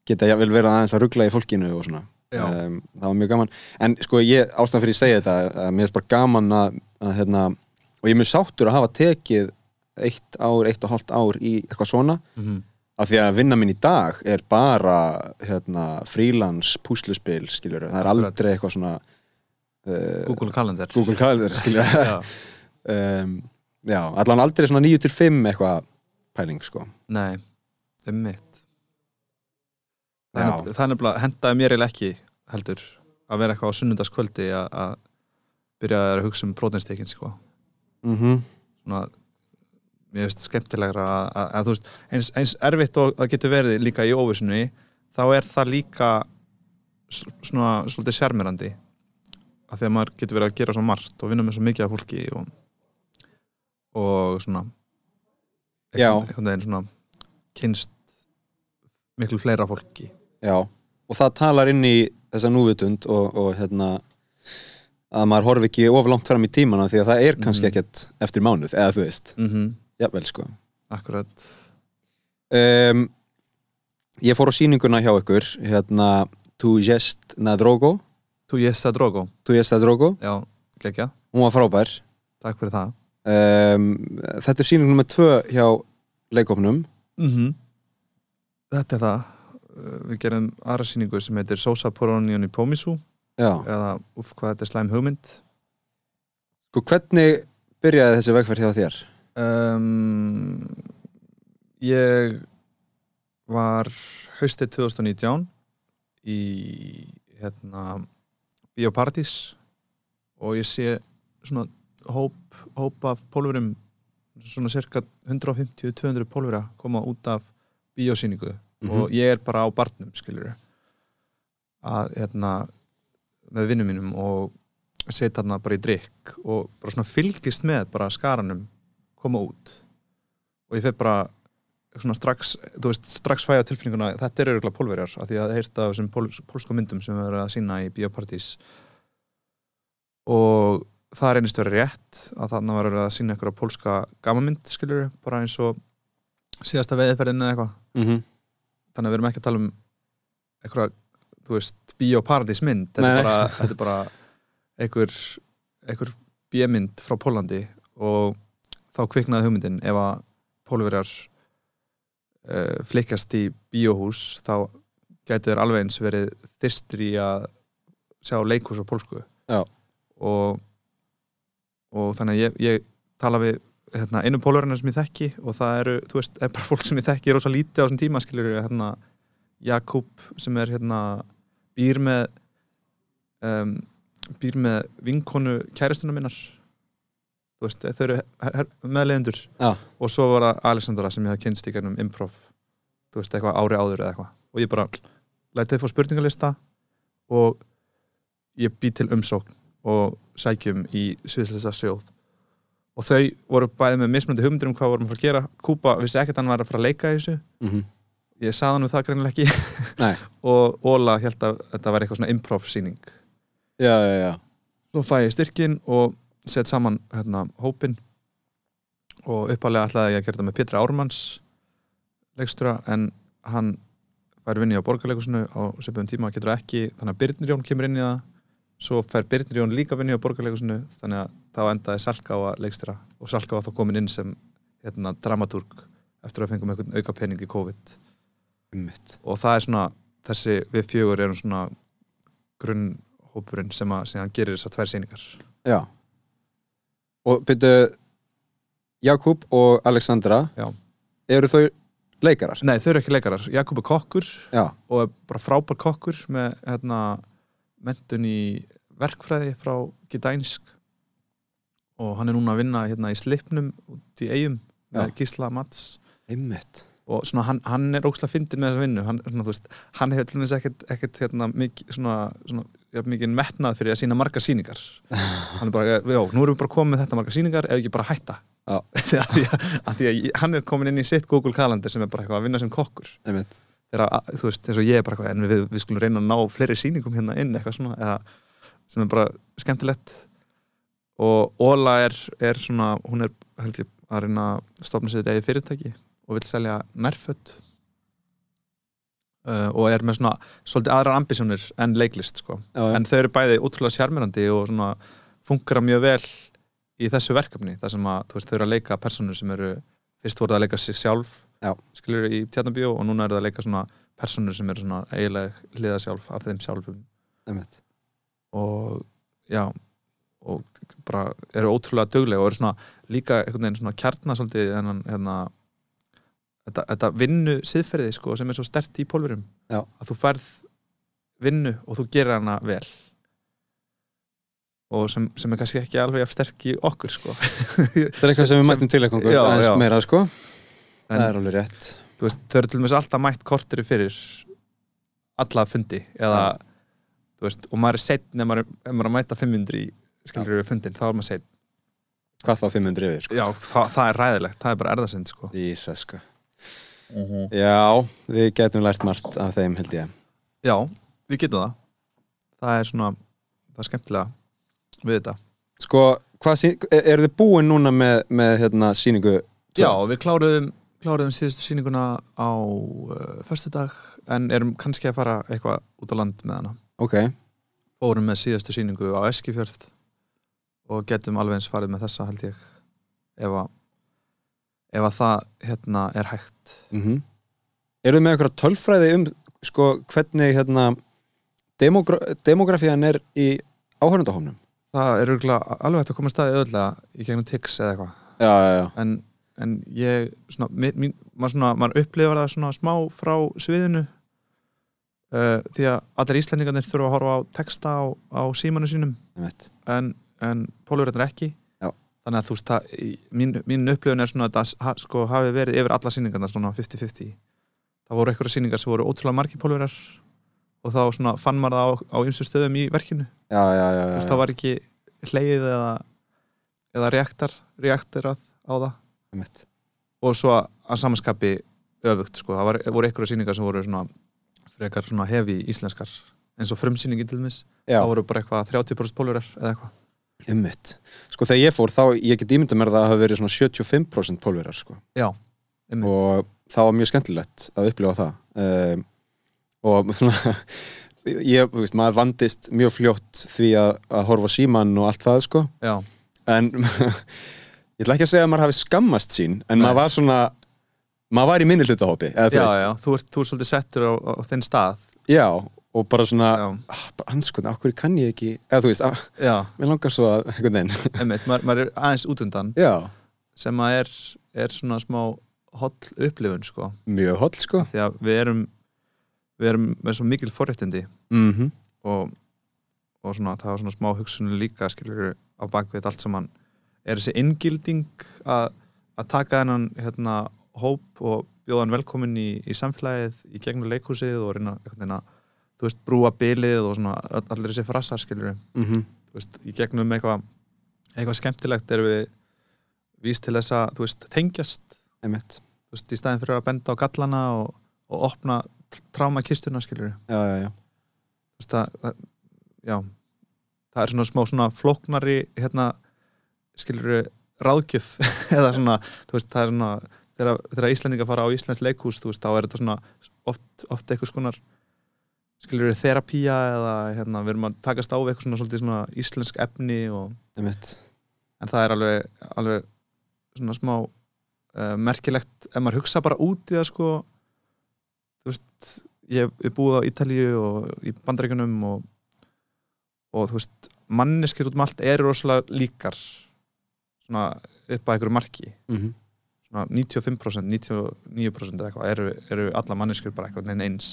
Speaker 1: geta jafnvel verið aðeins að ruggla í fólkinu og svona
Speaker 2: Já,
Speaker 1: um, það var mjög gaman en sko ég ástæðan fyrir að segja þetta að mér er bara gaman að, að hérna, og ég er mjög sáttur að hafa tekið eitt ár, eitt og hálft ár í eitthvað svona
Speaker 2: mhm.
Speaker 1: af því að vinna minn í dag er bara hérna, frílans púsluspil skiljur, það er
Speaker 2: Akkurat.
Speaker 1: aldrei eitthvað svona uh,
Speaker 2: Google Calendar
Speaker 1: Google Calendar skiljur
Speaker 2: Já,
Speaker 1: um, já, allan aldrei svona 9 til 5 eitthvað pæling sko
Speaker 2: nei, emmitt
Speaker 1: Já.
Speaker 2: Það er nefnilega, hendaði mér eiginlega ekki heldur að vera eitthvað á sunnundaskvöldi að- að byrja að hugsa um prótinstekin sko.
Speaker 1: mm
Speaker 2: Mhm. svona mér finnst skemmtilegra að, að, að þú veist eins, eins erfitt og það getur verið líka í óvissunni þá er það líka s- svona svolítið sjarmirandi af því að maður getur verið að gera svo margt og vinna með svo mikið af fólki og, og svona
Speaker 1: Já.
Speaker 2: einhvern einhvern veginn svona kynst miklu fleira fólki
Speaker 1: já, og það talar inn í þessa núvitund og, og hérna að maður horfi ekki of langt fram í tímana því að það er kannski
Speaker 2: Mhm.
Speaker 1: ekkert eftir mánuð, eða þú veist
Speaker 2: mm -hmm.
Speaker 1: jafnvel sko
Speaker 2: akkurat
Speaker 1: um, ég fór á sýninguna hjá ykkur hérna Tu Jest na Drogo
Speaker 2: Tú Jessa Drogo,
Speaker 1: Tu Jest na Drogo,
Speaker 2: já, gekkja
Speaker 1: hún var frábær
Speaker 2: takk fyrir það
Speaker 1: um, þetta er sýning nummer 2 hjá leikofnum
Speaker 2: mm Þetta er það Uh, Við gerum aðra sýningu sem heitir Sosa Poronion í Pómísú
Speaker 1: já,
Speaker 2: eða uff hvað þetta er slæm hugmynd
Speaker 1: sko hvernig byrjaði þessi vegferð hjá þér?
Speaker 2: um, Ég var haustið 2019 í hérna Bíópartís og ég sé svona hóp, hóp af pólverum svona cirka 150-200 pólvera koma út af bíósýningu
Speaker 1: Mhm.
Speaker 2: og ég er bara á barnum skilur að hérna með vinnum mínum og setja þarna bara í drikk og bara svona fylgist með bara skaranum koma út og ég fer bara svona strax, þú veist, strax fæja tilfinninguna þetta eru örgulega pólverjar, af því að heyrta af þessum pól, pólsku myndum sem við erum að sína í biopartís og það reynist verið rétt að þarna var verið að sína einhverja pólska gamamynd, skilur, bara eins og síðasta veiðferðin eða eitthvað
Speaker 1: mm -hmm.
Speaker 2: þannig að við erum ekki að tala um einhverja, þú veist, biopartísmynd þetta
Speaker 1: Nei, nei.
Speaker 2: er bara, þetta er bara einhver, einhver bíemynd frá Pólandi og þá kviknaði hugmyndin ef að pólverjar uh, flikast í bíóhús þá gæti þeir alveg eins verið þyrstir í að sjá leikhús á pólsku
Speaker 1: Já.
Speaker 2: og og þannig að ég, ég tala við hérna, einu pólverjarna sem ég þekki og það eru, þú veist, er bara fólk sem ég þekki rosa lítið á þessum tíma, skilur hérna, Jakub sem er hérna býr með um, býr með vinkonu kæristuna minnar þú veist, þau eru her- her- meðleigendur
Speaker 1: Já.
Speaker 2: og svo var það Alexandra sem ég hafði kynst í gennum improv þú veist, eitthvað ári áður eða eitthvað og ég bara lætið fór spurningalista og ég bý til umsókn og sækjum í sviðslista sjóð og þau voru bæði með mismunandi hugmyndir um hvað vorum að fara að gera Kúpa vissi ekkert að hann var að fara að leika í þessu
Speaker 1: mhm.
Speaker 2: ég sagði hann um það greinilega ekki
Speaker 1: Nei.
Speaker 2: og Óla held að þetta var eitthvað svona improv síning
Speaker 1: já, já, já
Speaker 2: svo fæ ég styrkin og set saman hérna, hópin og uppalega ætlaði ég að gera þetta með Pétra Ármanns leikstura en hann fær vinni á borgarleikusinu á svipum tíma getur það ekki þannig að Birnir Jón kemur inn í það svo fær Birnir Jón líka vinni á borgarleikusinu þannig að þá endaði Salka á að leikstýra og Salka var þá komin inn sem hérna, dramatúrk eftir að fengum einhvern auka pening í COVID
Speaker 1: Einmitt.
Speaker 2: og það er svona þessi við fjögur erum svona grunnhópurinn sem að sem gerir þessar tvær sýningar
Speaker 1: já og byrju Jakub og Alexandra
Speaker 2: Já.
Speaker 1: eru þau leikarar
Speaker 2: Nei, þau eru ekki leikarar. Jakob er kokkur
Speaker 1: já,
Speaker 2: og er bara frábær kokkur með hérna, mentun í verkfræði frá Gdańsk og hann er núna að vinna hérna í slipnum út í eigum með
Speaker 1: Já.
Speaker 2: Gísla Mats
Speaker 1: einmitt
Speaker 2: og svona, hann, hann er ógslag fyndin með þessa vinnu hann, svona, þú veist, hann hefur til dæmis ekkert, ekkert hérna, mikið, svona, svona, ja, mikið metnað fyrir að sína marga sýningar hann er bara, já, nú erum við bara komið með þetta marga sýningar ef ekki bara hætta
Speaker 1: Já.
Speaker 2: Af því að, að því að ég- hann er komin inn í sitt Google kalender sem er bara eitthvað að vinna sem kokkur
Speaker 1: einmitt,
Speaker 2: þegar að, þú veist, eins og ég er bara eitthvað en við, við skulum reyna að ná fleiri sýningum hérna inn eitthvað svona, eða sem er bara skemmtilegt og Óla er, er svona, hún er held ég að reyna að stopna sér þetta eða fyrirtæki og vil selja nærfött uh, og er með svona svolítið aðrar ambisjónir en leiklist sko
Speaker 1: já, já.
Speaker 2: en þau eru bæði útrúlega sjarmirandi og svona funkar mjög vel í þessu verkefni þar sem að þú veist, þau eru að leika personur sem eru fyrst voru það að leika sig sjálf
Speaker 1: Já.
Speaker 2: skilur í tjarnabíó og núna eru það að leika svona personur sem eru svona eiginlega hliða sjálf af þeim sjálfum
Speaker 1: einmitt.
Speaker 2: og já og bara eru ótrúlega duglega og eru svona líka einhvern veginn svona kjarnar svolítið þennan hérna þetta, þetta vinnu siðferði sko sem er svo stert í pólverum
Speaker 1: Já.
Speaker 2: að þú færð vinnu og þú gerir hana vel og sem, sem er kannski ekki alveg að sterk í okkur sko
Speaker 1: það er eitthvað sem við mættum til eitthvað
Speaker 2: Já,
Speaker 1: aðeins
Speaker 2: já.
Speaker 1: meira sko
Speaker 2: En-
Speaker 1: það er alveg rétt
Speaker 2: þú veist, þau eru til dæmis alltaf mætt kortir fyrir alla fundi eða, þú veist, og maður er seitt ef maður er ef maður er að mæta 500 í skilur við fundin, þá er maður seitt
Speaker 1: hvað þá 500 yfir sko
Speaker 2: já, það, það er ræðilegt, það er bara erðasind sko.
Speaker 1: Ísa, sko.
Speaker 2: Mhm.
Speaker 1: já, við getum lært margt af þeim held ég
Speaker 2: já, við getum það það er svona, það er skemmtilega við þetta,
Speaker 1: sko, hvað, sý- e- eru þið búin núna með, með hérna, síningu Tvö.
Speaker 2: já, við kláruðum kláruðum síðustu sýninguna á uh, föstudag, en erum kannski að fara eitthvað út á land með hana
Speaker 1: ok,
Speaker 2: fórum með síðastu sýningu á Eskifjörð og getum alveg eins farið með þessa held ég ef að, ef að það hérna er hægt
Speaker 1: mm eru þið með einhverja tölfræði um sko, hvernig hérna, demogra demografían er í áhörundahófnum
Speaker 2: það er örugglega alveg hægt að koma staði öðvöldlega í gegnum tix eða eitthvað
Speaker 1: já, já, já,
Speaker 2: en, en ég svona, mi- mín, maður, svona, maður upplifar það svona smá frá sviðinu uh, því að allir Íslendingarnir þurfa að horfa á texta á, á símanu sínum
Speaker 1: einmitt.
Speaker 2: en, en pólverðin er ekki
Speaker 1: Já.
Speaker 2: þannig að þú veist það, í- mín, mín upplifun er svona að það ha- sko, hafi verið yfir alla sýningarna svona 50-50 það voru einhverja sýningar sem voru ótrúlega margi pólverðar og þá svona fann maður það á, á ymsu stöðum í verkinu þú
Speaker 1: já, já, já, já,
Speaker 2: veist
Speaker 1: já.
Speaker 2: það var ekki hleið eða, eða reaktar reaktirað á það
Speaker 1: einmitt.
Speaker 2: og svo að samanskapi öfugt sko, það var, voru einhverja sýningar sem voru svona frekar svona hefi íslenskar eins og frumsýningi til þess
Speaker 1: Já,
Speaker 2: það voru bara eitthvað 30% pólverar eða eitthvað
Speaker 1: ummitt Sko þegar ég fór þá, ég get ímynda mér að það hafa verið svona 75% pólverar sko.
Speaker 2: já, einmitt.
Speaker 1: og það var mjög skemmtilegt að upplifa það um, og svona ég, þú veist, maður vandist mjög fljótt því að, að horfa á símann og allt það sko
Speaker 2: já,
Speaker 1: en ég ætla ekki að segja að maður hafi skammast sín en
Speaker 2: Nei.
Speaker 1: maður var svona maður var í minni hlutahópi eða, þú
Speaker 2: já,
Speaker 1: veist.
Speaker 2: já, þú ert, þú ert svolítið settur á, á, á þinn stað
Speaker 1: já, og bara svona
Speaker 2: já,
Speaker 1: ah, bara anskotin, af hverju kann ég ekki eða þú veist, ah,
Speaker 2: já,
Speaker 1: mér langar svo að einhvern veginn,
Speaker 2: einmitt, maður, maður er aðeins útundan
Speaker 1: já,
Speaker 2: sem að er, er svona smá holl upplifun sko,
Speaker 1: mjög holl sko
Speaker 2: því að við erum við erum með svo mikil forréttindi
Speaker 1: mhm,
Speaker 2: og, og svona, það var svona smá hugsunum líka skilur á bakvið þetta allt saman er þessi inngilding að, að taka þennan hérna, hóp og bjóða hann velkomin í, í samfélagið í gegnum leikhúsið og reyna einhvern veginn að þú veist, brúa bilið og svona all- allir þessi frasar skilur
Speaker 1: mhm,
Speaker 2: þú veist, í gegnum eitthvað eitthvað skemmtilegt erum við víst til þess að, þú veist, tengjast
Speaker 1: einmitt
Speaker 2: þú veist, í staðin fyrir að benda á gallana og, og opna trámakistuna skilur
Speaker 1: já, já, já,
Speaker 2: þú veist, það, það, já, það er svona smá svona flóknari hérna, skilur ráðgjöf eða svona, þú veist, það er svona þegar, þegar Íslendinga fara á Íslands leikhús þú veist, þá er þetta svona oft, oft eitthvað skonar skilur þerapía eða hérna, við erum að takast á við eitthvað svona, svolítið svona íslensk efni og,
Speaker 1: einmitt
Speaker 2: en það er alveg, alveg svona smá uh, merkilegt ef maður hugsa bara út í það sko þú veist ég hef- ég hef búið á Ítalíu og í Bandaríkunum og, og þú veist manneskir út um allt eru rosalega líkar svona upp að einhverju marki
Speaker 1: mhm,
Speaker 2: svona 95%, 99% eða eitthvað eru, eru alla manneskir bara eitthvað neinn eins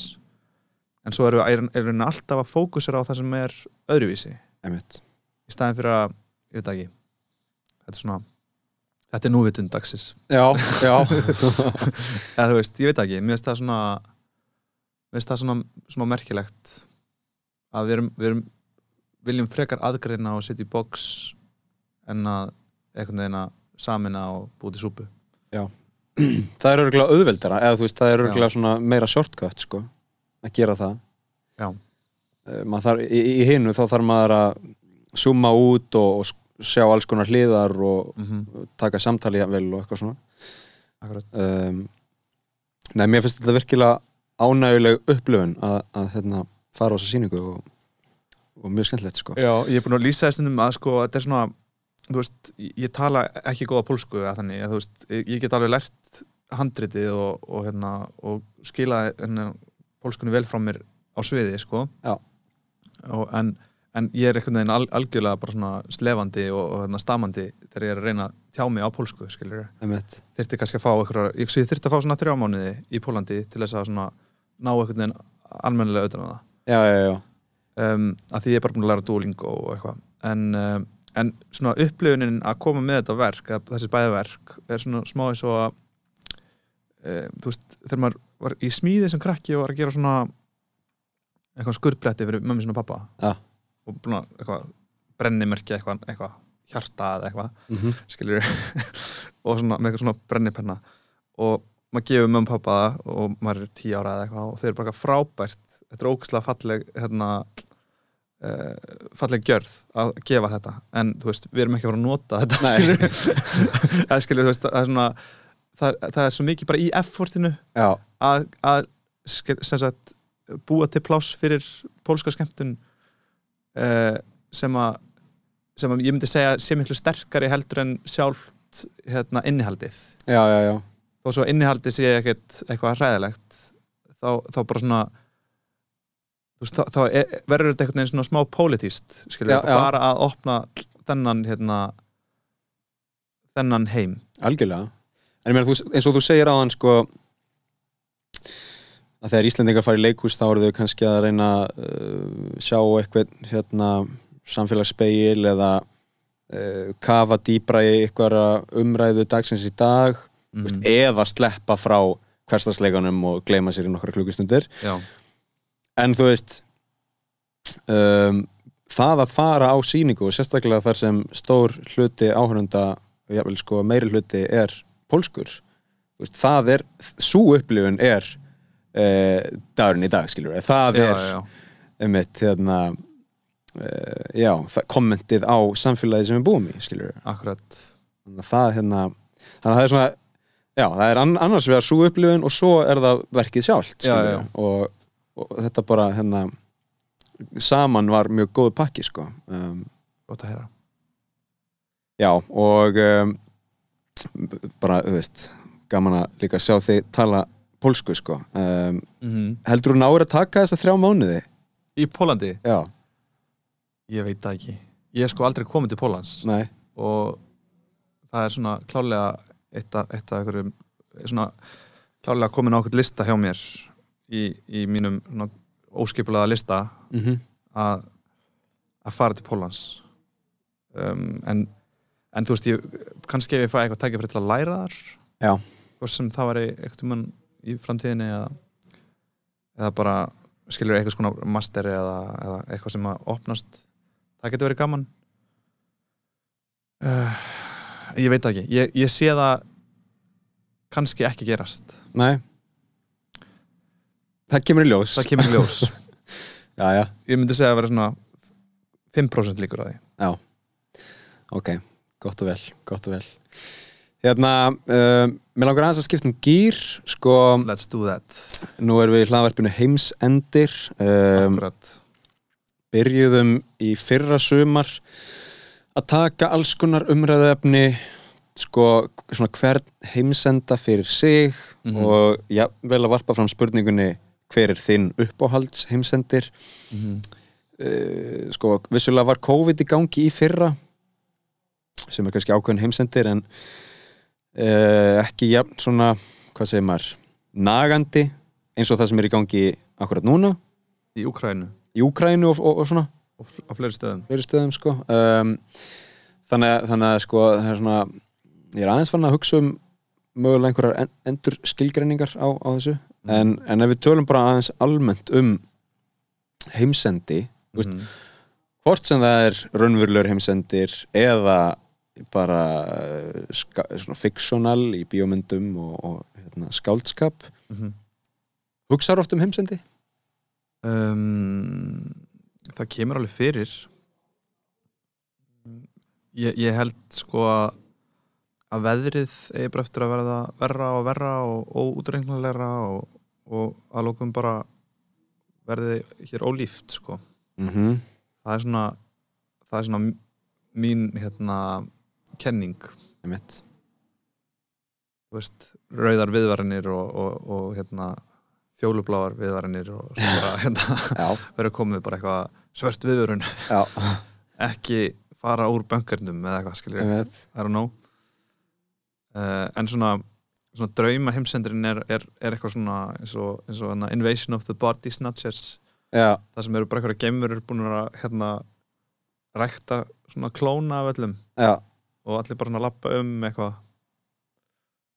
Speaker 2: en svo eru, eru, eru alltaf að fókusera á það sem er öðruvísi
Speaker 1: einmitt
Speaker 2: í staðin fyrir að, ég veit það ekki þetta er svona þetta er núvitund dagsins
Speaker 1: já, já,
Speaker 2: eða þú veist, ég veit það ekki, mér finnst það svona mér finnst það svona, svona merkilegt að við erum, við erum viljum frekar aðgreina og setja í box en að einhvern veginn að samina og búið til súpu
Speaker 1: það er örgulega auðveldara eða þú veist, það er
Speaker 2: Já.
Speaker 1: örgulega svona meira shortcut sko, að gera það
Speaker 2: Já.
Speaker 1: Eh, maður þarf, í, í hinu þá þarf maður að summa út og, og sk- sjá alls konar hliðar og
Speaker 2: mm -hmm.
Speaker 1: taka samtali vel og eitthvað svona
Speaker 2: Akkurat,
Speaker 1: um, nei, mér finnst þetta virkilega ánæguleg upplöfun að, að hérna, fara á þessa sýningu og, og mjög skemmtilegt sko
Speaker 2: Já, ég er búin að lýsa þessum um að sko, þetta er svona, þú veist, ég ég tala ekki góða pólsku eða þannig, að, þú veist, ég- ég get alveg lært handritið og, og hérna, og skila hérna, pólskunni vel frá mér á sviði, sko.
Speaker 1: Já.
Speaker 2: Og, en, en ég er einhvern veginn al, algjörlega bara svona slefandi og, og hérna, stamandi þegar ég er að reyna að tjá mig á pólsku, skiljur.
Speaker 1: Einmitt.
Speaker 2: Þyrfti kannski að fá einhverjar, ég, ég þyrfti að fá svona þrjá mánuði í Pólandi til þess að svona ná einhvern veginn almennilega auðvitað það
Speaker 1: já, já, já,
Speaker 2: um, að því ég er bara búin að læra Duolingo og eitthvað en, um, en svona upplifunin að koma með þetta verk eða þessi bæði verk er svona smá eins og að um, þú veist, þegar maður var í smíði sem krakki og var að gera svona eitthvað skurðbretti fyrir mömmu sinna og pappa
Speaker 1: Ja.
Speaker 2: og búin að eitthvað brennimerkja eitthvað, eitthvað hjarta eða eitthvað
Speaker 1: mhm
Speaker 2: skilur og svona, með eitthvað svona brennipenna og maður gefur mömmu og pappa það og maður er tíu ára eða eitthvað og þeir eru bara eitthvað frábært þetta er ógæslega falleg hérna, uh, falleg gjörð að gefa þetta en þú veist, við erum ekki að fara að nota þetta
Speaker 1: Nei.
Speaker 2: skilur, eða, skilur þú veist, það er svona það, það er svo mikið bara í effortinu
Speaker 1: já,
Speaker 2: að, að skil, sem sagt, búa til pláss fyrir pólska skemmtun uh, sem að sem að ég myndi segja sé miklu sterkari heldur en sjálft hérna, innihaldið
Speaker 1: já, já, já
Speaker 2: þó svo að innihaldið sé ekkert eitthvað hræðilegt þá, þá bara svona þú veist, þá, þá er, verður þetta einhvern veginn svona smá pólitíst skilur,
Speaker 1: Já,
Speaker 2: já,
Speaker 1: já.
Speaker 2: bara að opna þennan hérna, þennan heim
Speaker 1: Algjörlega En ég meina, þú- eins og þú segir á hann sko að þegar Íslendingar fara í leikhús þá eru þau kannski að reyna að uh, sjá eitthvað hérna, samfélagsspegil eða uh, kafa dýbra í eitthvað umræðu dagsins í dag
Speaker 2: mm,
Speaker 1: eða sleppa frá hversdagsleikanum og gleyma sér í nokkra klukkustundir
Speaker 2: já,
Speaker 1: en þú veist um, það að fara á sýningu og sérstaklega þar sem stór hluti áhörunda og jafnvel sko meiri hluti er pólskur þú Þú veist, það er, svo upplifun er uh, dagurinn í dag, skilur við það
Speaker 2: já,
Speaker 1: er,
Speaker 2: já,
Speaker 1: einmitt, hérna uh, já, það, kommentið á samfélagi sem við búum í, skilur við
Speaker 2: akkurat
Speaker 1: þannig að það, hérna, þannig að það er svona já, það er ann- annars vegar svo upplifun og svo er það verkið sjálft,
Speaker 2: Já,
Speaker 1: skilur
Speaker 2: já.
Speaker 1: við og, og þetta bara, hérna saman var mjög góð pakki, sko um,
Speaker 2: gott að heyra
Speaker 1: Já, og um, bara, þú veist, gaman að líka sjá þig tala pólsku, sko. Um, heldur þú náir að taka þessa þrjá mánuði?
Speaker 2: í Pólandi,
Speaker 1: Já,
Speaker 2: ég veit það ekki ég hef sko aldrei komið til Pólans
Speaker 1: nei,
Speaker 2: og það er svona klálega eitt af, eitt af einhverjum svona klálega komin á okkur lista hjá mér í, í mínum svona óskipulega lista
Speaker 1: mhm,
Speaker 2: að, að fara til Pólans um, en, en þú veist ég, kannski ef ég fæ eitthvað tækja fyrir til að læra þar
Speaker 1: Já.
Speaker 2: hvort sem það var eitthvað mann í framtíðinni eða, eða bara skilur eitthvað skona master eða, eða eitthvað sem að opnast það getur verið gaman uh, ég veit það ekki ég, ég sé það kannski ekki gerast
Speaker 1: nei. Það kemur í ljós.
Speaker 2: það kemur í ljós
Speaker 1: Já, já,
Speaker 2: ég myndi segja að vera svona 5% líkur á því
Speaker 1: ok, gott og vel, gott og vel. Hérna, um, mér langar aðeins að skipta um gýr, sko,
Speaker 2: let's do that
Speaker 1: nú erum við í hlaðvarpinu heimsendir. Um,
Speaker 2: Akkurat.
Speaker 1: byrjuðum í fyrra sumar að taka alls konar umræðuefni sko, svona hvern heimsenda fyrir sig
Speaker 2: Mhm.
Speaker 1: og já, vel að varpa fram spurningunni hver er þinn uppáhalds heimsendir
Speaker 2: Mhm.
Speaker 1: uh, sko, vissulega var COVID í gangi í fyrra sem er kannski ákveðin heimsendir en uh, ekki jafn svona, hvað segir maður nagandi eins og það sem er í gangi akkurat núna,
Speaker 2: í Úkrænu
Speaker 1: í Úkrænu og, og, og svona
Speaker 2: og fl- á fleiri stöðum
Speaker 1: fleiri stöðum sko um, þannig, að- þannig að sko það er svona, ég er aðeins fann að hugsa um mögulega einhverjar en, endur skilgreiningar á, á þessu en, en ef við tölum bara aðeins almennt um heimsendi þú veist-
Speaker 2: Mhm.
Speaker 1: hvort sem það er raunverulegur heimsendir eða bara eh, ska, svona fiksjónal í bíómyndum og, og hérna, skáldskap
Speaker 2: Mhm.
Speaker 1: hugsaður oft um heimsendi?
Speaker 2: um, það kemur alveg fyrir ég, ég held sko að að veðrið eigi bara eftir að verða verra og verra og óútrengnulegra og, og að lókum bara verði hér ólíft sko
Speaker 1: Mm -hmm.
Speaker 2: það er svona það er svona mín hérna kenning þú veist, rauðar viðvarinir og, og, og hérna fjólubláar viðvarinir og svo bara hérna,
Speaker 1: Já,
Speaker 2: verður komið bara eitthvað svört viðvörun
Speaker 1: já,
Speaker 2: ekki fara úr bönkarnum eða eitthvað skiljur, yeah.
Speaker 1: einmitt
Speaker 2: I don't know uh, en svona svona drauma heimsendurinn er, er, er eitthvað svona eins og, eins og hana, Invasion of the Body Snatchers
Speaker 1: Já,
Speaker 2: það sem eru bara eitthvað geimurur búin að hérna rækta svona klóna af öllum
Speaker 1: já
Speaker 2: og allir bara svona lappa um eitthvað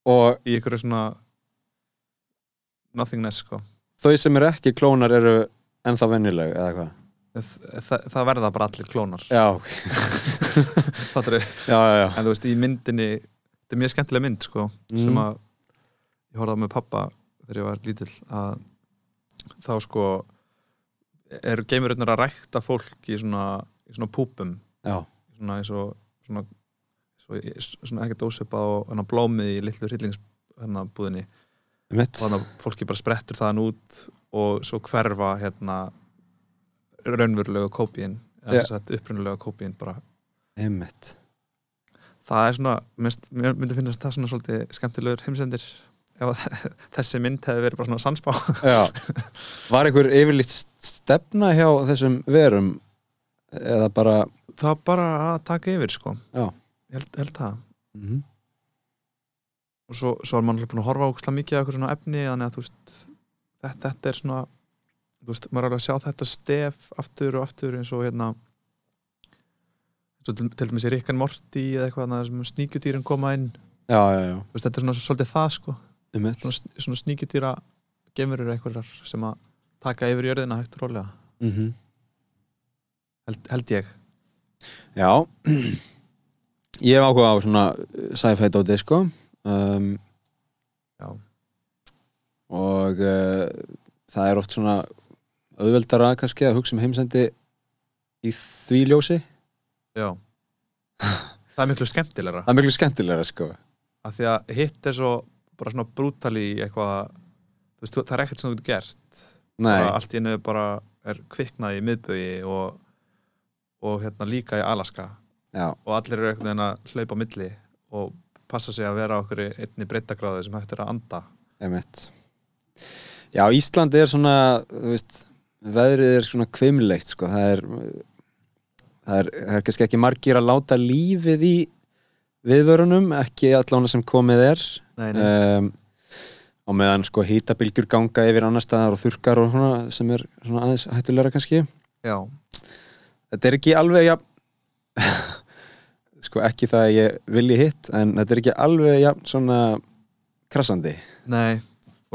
Speaker 1: og
Speaker 2: í einhverju svona nothingness sko
Speaker 1: þau sem eru ekki klónar eru ennþá venjuleg eða hvað
Speaker 2: Þa, það, það verða bara allir klónar
Speaker 1: já,
Speaker 2: Fattarðu?
Speaker 1: já, já, já.
Speaker 2: en þú veist í myndinni þetta er mjög skemmtilega mynd sko
Speaker 1: Mm,
Speaker 2: sem að ég horfði á með pappa þegar ég var lítill að þá sko eru geimurinn að rækta fólk í svona, í svona púpum
Speaker 1: já,
Speaker 2: svona eins og svona, svona, svona ekkert ósepa og hana blómið í litlu hryllings hérna búðinni
Speaker 1: mitt
Speaker 2: og þannig að fólki bara sprettur þaðan út og svo hverfa hérna raunverulega kópíin
Speaker 1: Já.
Speaker 2: eða yeah. upprunulega kópíin bara
Speaker 1: einmitt,
Speaker 2: það er svona, minnst, mér myndi finnast það svona svolítið skemmtilegur heimsendir ef að þessi mynd hefði verið bara svona sannspá
Speaker 1: já var einhver yfirleitt stefna hjá þessum verum eða bara
Speaker 2: það var bara að taka yfir sko
Speaker 1: Já.
Speaker 2: ég held, held það
Speaker 1: mhm,
Speaker 2: og svo, svo er mann alveg búin að horfa ókslega mikið að eitthvað svona efni þannig að þú veist þetta, þetta er svona þú veist, maður er alveg að sjá þetta stef aftur og aftur eins og hérna eins og til, til dæmis í Rikkan Morty eða eitthvað þannig sem sníkjudýrin koma inn þú
Speaker 1: já, já, já,
Speaker 2: veist, þetta er svona svolítið það sko
Speaker 1: einmitt
Speaker 2: svona, svona sníkjudýra gemurur eitthvað sem að taka yfir jörðina hægt og rólega
Speaker 1: mhm,
Speaker 2: held, held ég
Speaker 1: já ég hef áhuga á svona eh, sci-fi dóti sko um,
Speaker 2: Já.
Speaker 1: og uh, það er oft svona auðveldara kannski að hugsa um heimsendi í því ljósi
Speaker 2: já það er miklu skemmtilegra
Speaker 1: það er miklu skemmtilega sko
Speaker 2: af því að hitt er svo bara svona brútal í eitthvað þú veist, það er ekkert sem þú getur gert
Speaker 1: Nei,
Speaker 2: bara allt í einu bara er kviknað í miðbögi og, og hérna líka í Alaska
Speaker 1: já,
Speaker 2: og allir eru einhvern veginn að hlaupa á milli og passa sig að vera á okkur einni breyttagráðu sem hægt er að anda
Speaker 1: emitt Já, Ísland er svona þú veist, veðrið er svona kvimleitt sko, það er það er, það er kannski ekki margir að láta lífið í viðvörunum ekki allan sem komið er
Speaker 2: nei,
Speaker 1: um, og meðan sko hýtabilgjur ganga yfir annar staðar og þurkar og svona sem er svona aðeins hættulegra kannski
Speaker 2: já,
Speaker 1: þetta er ekki alveg jafn sko ekki það að ég vilji hitt en þetta er ekki alveg jafn svona krassandi
Speaker 2: nei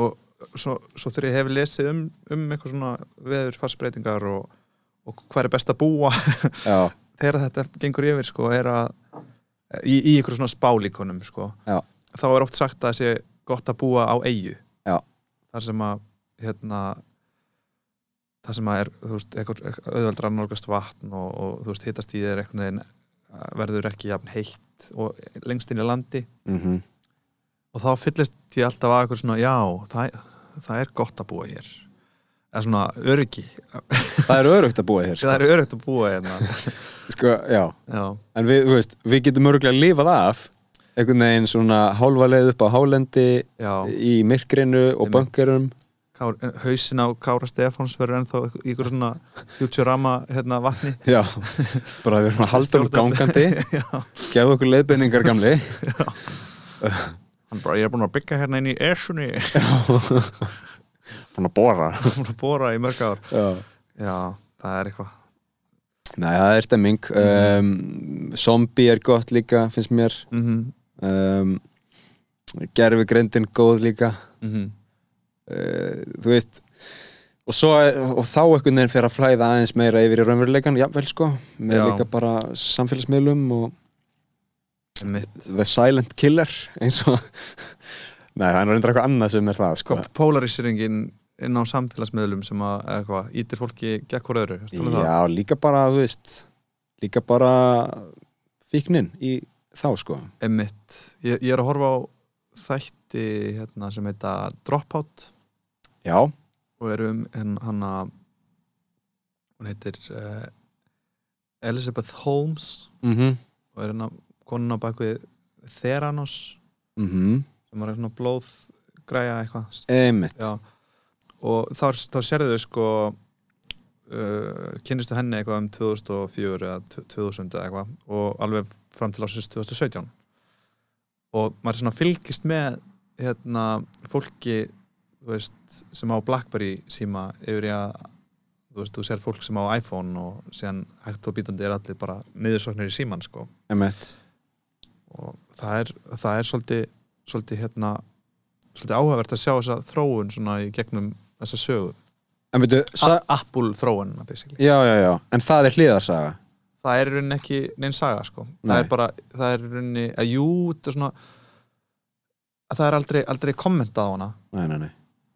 Speaker 2: og svo, svo þegar ég hef lesið um, um eitthvað svona veðurfarsbreytingar og, og hvað er best að búa
Speaker 1: já,
Speaker 2: þegar þetta gengur yfir sko, er að í, í ykkur svona spálíkonum sko,
Speaker 1: Já.
Speaker 2: þá er oft sagt að það sé gott að búa á eigu
Speaker 1: Já.
Speaker 2: þar sem að hérna, þar sem að er þú veist, eitthvað auðveldra nálgast vatn og, og þú veist, hittast í þér einhvern veginn eh, verður ekki jafn heitt og lengst inn í landi
Speaker 1: mhm
Speaker 2: og þá fyllist ég alltaf að eitthvað svona já, það, það er gott að búa hér eða svona öryggi
Speaker 1: það er örugt að búa hér sko.
Speaker 2: það er öryggt að búa hérna
Speaker 1: Sko, já,
Speaker 2: já,
Speaker 1: en við, þú veist, við getum öruglega lifað af einhvern veginn svona hálfa leið upp á hálendi
Speaker 2: já
Speaker 1: í myrkrinu og
Speaker 2: Einmitt.
Speaker 1: böngurum
Speaker 2: Kár, hausin eh, á Kára Stefáns verður ennþá í ykkur svona Futurama hérna, vatni
Speaker 1: já, bara við erum að halda um gangandi
Speaker 2: Já.
Speaker 1: gefðu okkur leiðbeiningar gamli
Speaker 2: Hann bara, ég er búin að byggja hérna inn í Esjunni ég
Speaker 1: búin að bóra
Speaker 2: er búin að bóra í mörg ár
Speaker 1: já.
Speaker 2: Já, það er eitthvað
Speaker 1: Nei, það er stemming
Speaker 2: Mhm.
Speaker 1: um, Zombie er gott líka, finnst mér
Speaker 2: mm -hmm.
Speaker 1: um, Gerfi grindin góð líka
Speaker 2: Mm -hmm.
Speaker 1: uh, Þú veist Og, svo, er- og þá einhvern veginn fer að flæða aðeins meira yfir í raunveruleikan, jafnvel sko með
Speaker 2: Já.
Speaker 1: líka bara samfélagsmiðlum og
Speaker 2: Mitt
Speaker 1: The Silent Killer eins og Nei, það er reyndar eitthvað annað sem er það sko
Speaker 2: Sko, Polarisringin inn á samfélagsmiðlum sem að, eða hvað, ítir fólki gekk hvort öðru ertu að tala um það?
Speaker 1: Já, líka bara, þú veist líka bara fíknin í þá sko
Speaker 2: Einmitt ég, ég er að horfa á þætti hérna, sem heita Dropout
Speaker 1: Já,
Speaker 2: og eru um henn hana hún heitir uh, Elizabeth Holmes
Speaker 1: mhm,
Speaker 2: og er hennar konuna bak við Theranos
Speaker 1: mhm
Speaker 2: sem var svona blóðgræja eitthvað
Speaker 1: Einmitt,
Speaker 2: Já. og þá, þá sérðu þau sko uh, kynnistu henni eitthvað um 2004 eða 2000 eða eitthvað og alveg fram til ásins 2017 og maður svona fylgist með hérna fólki þú veist, sem á Blackberry síma yfir í að þú veist, þú sér fólk sem á iPhone og síðan hægt og býtandi er allir bara niðursóknir í síman sko
Speaker 1: einmitt
Speaker 2: og það er, það er svolítið, svolítið hérna svolítið áhugavert að sjá þessa þróun svona í gegnum þessa sögu
Speaker 1: En byrju, sa-
Speaker 2: A Apple þróun basically.
Speaker 1: já, já, já, en það er hliðarsaga
Speaker 2: það er í rauninni ekki neinn saga sko. það
Speaker 1: Nei.
Speaker 2: er bara, það er í rauninni að jú, það er svona að það er aldrei, aldrei kommentað á hana
Speaker 1: Nei, nei, nei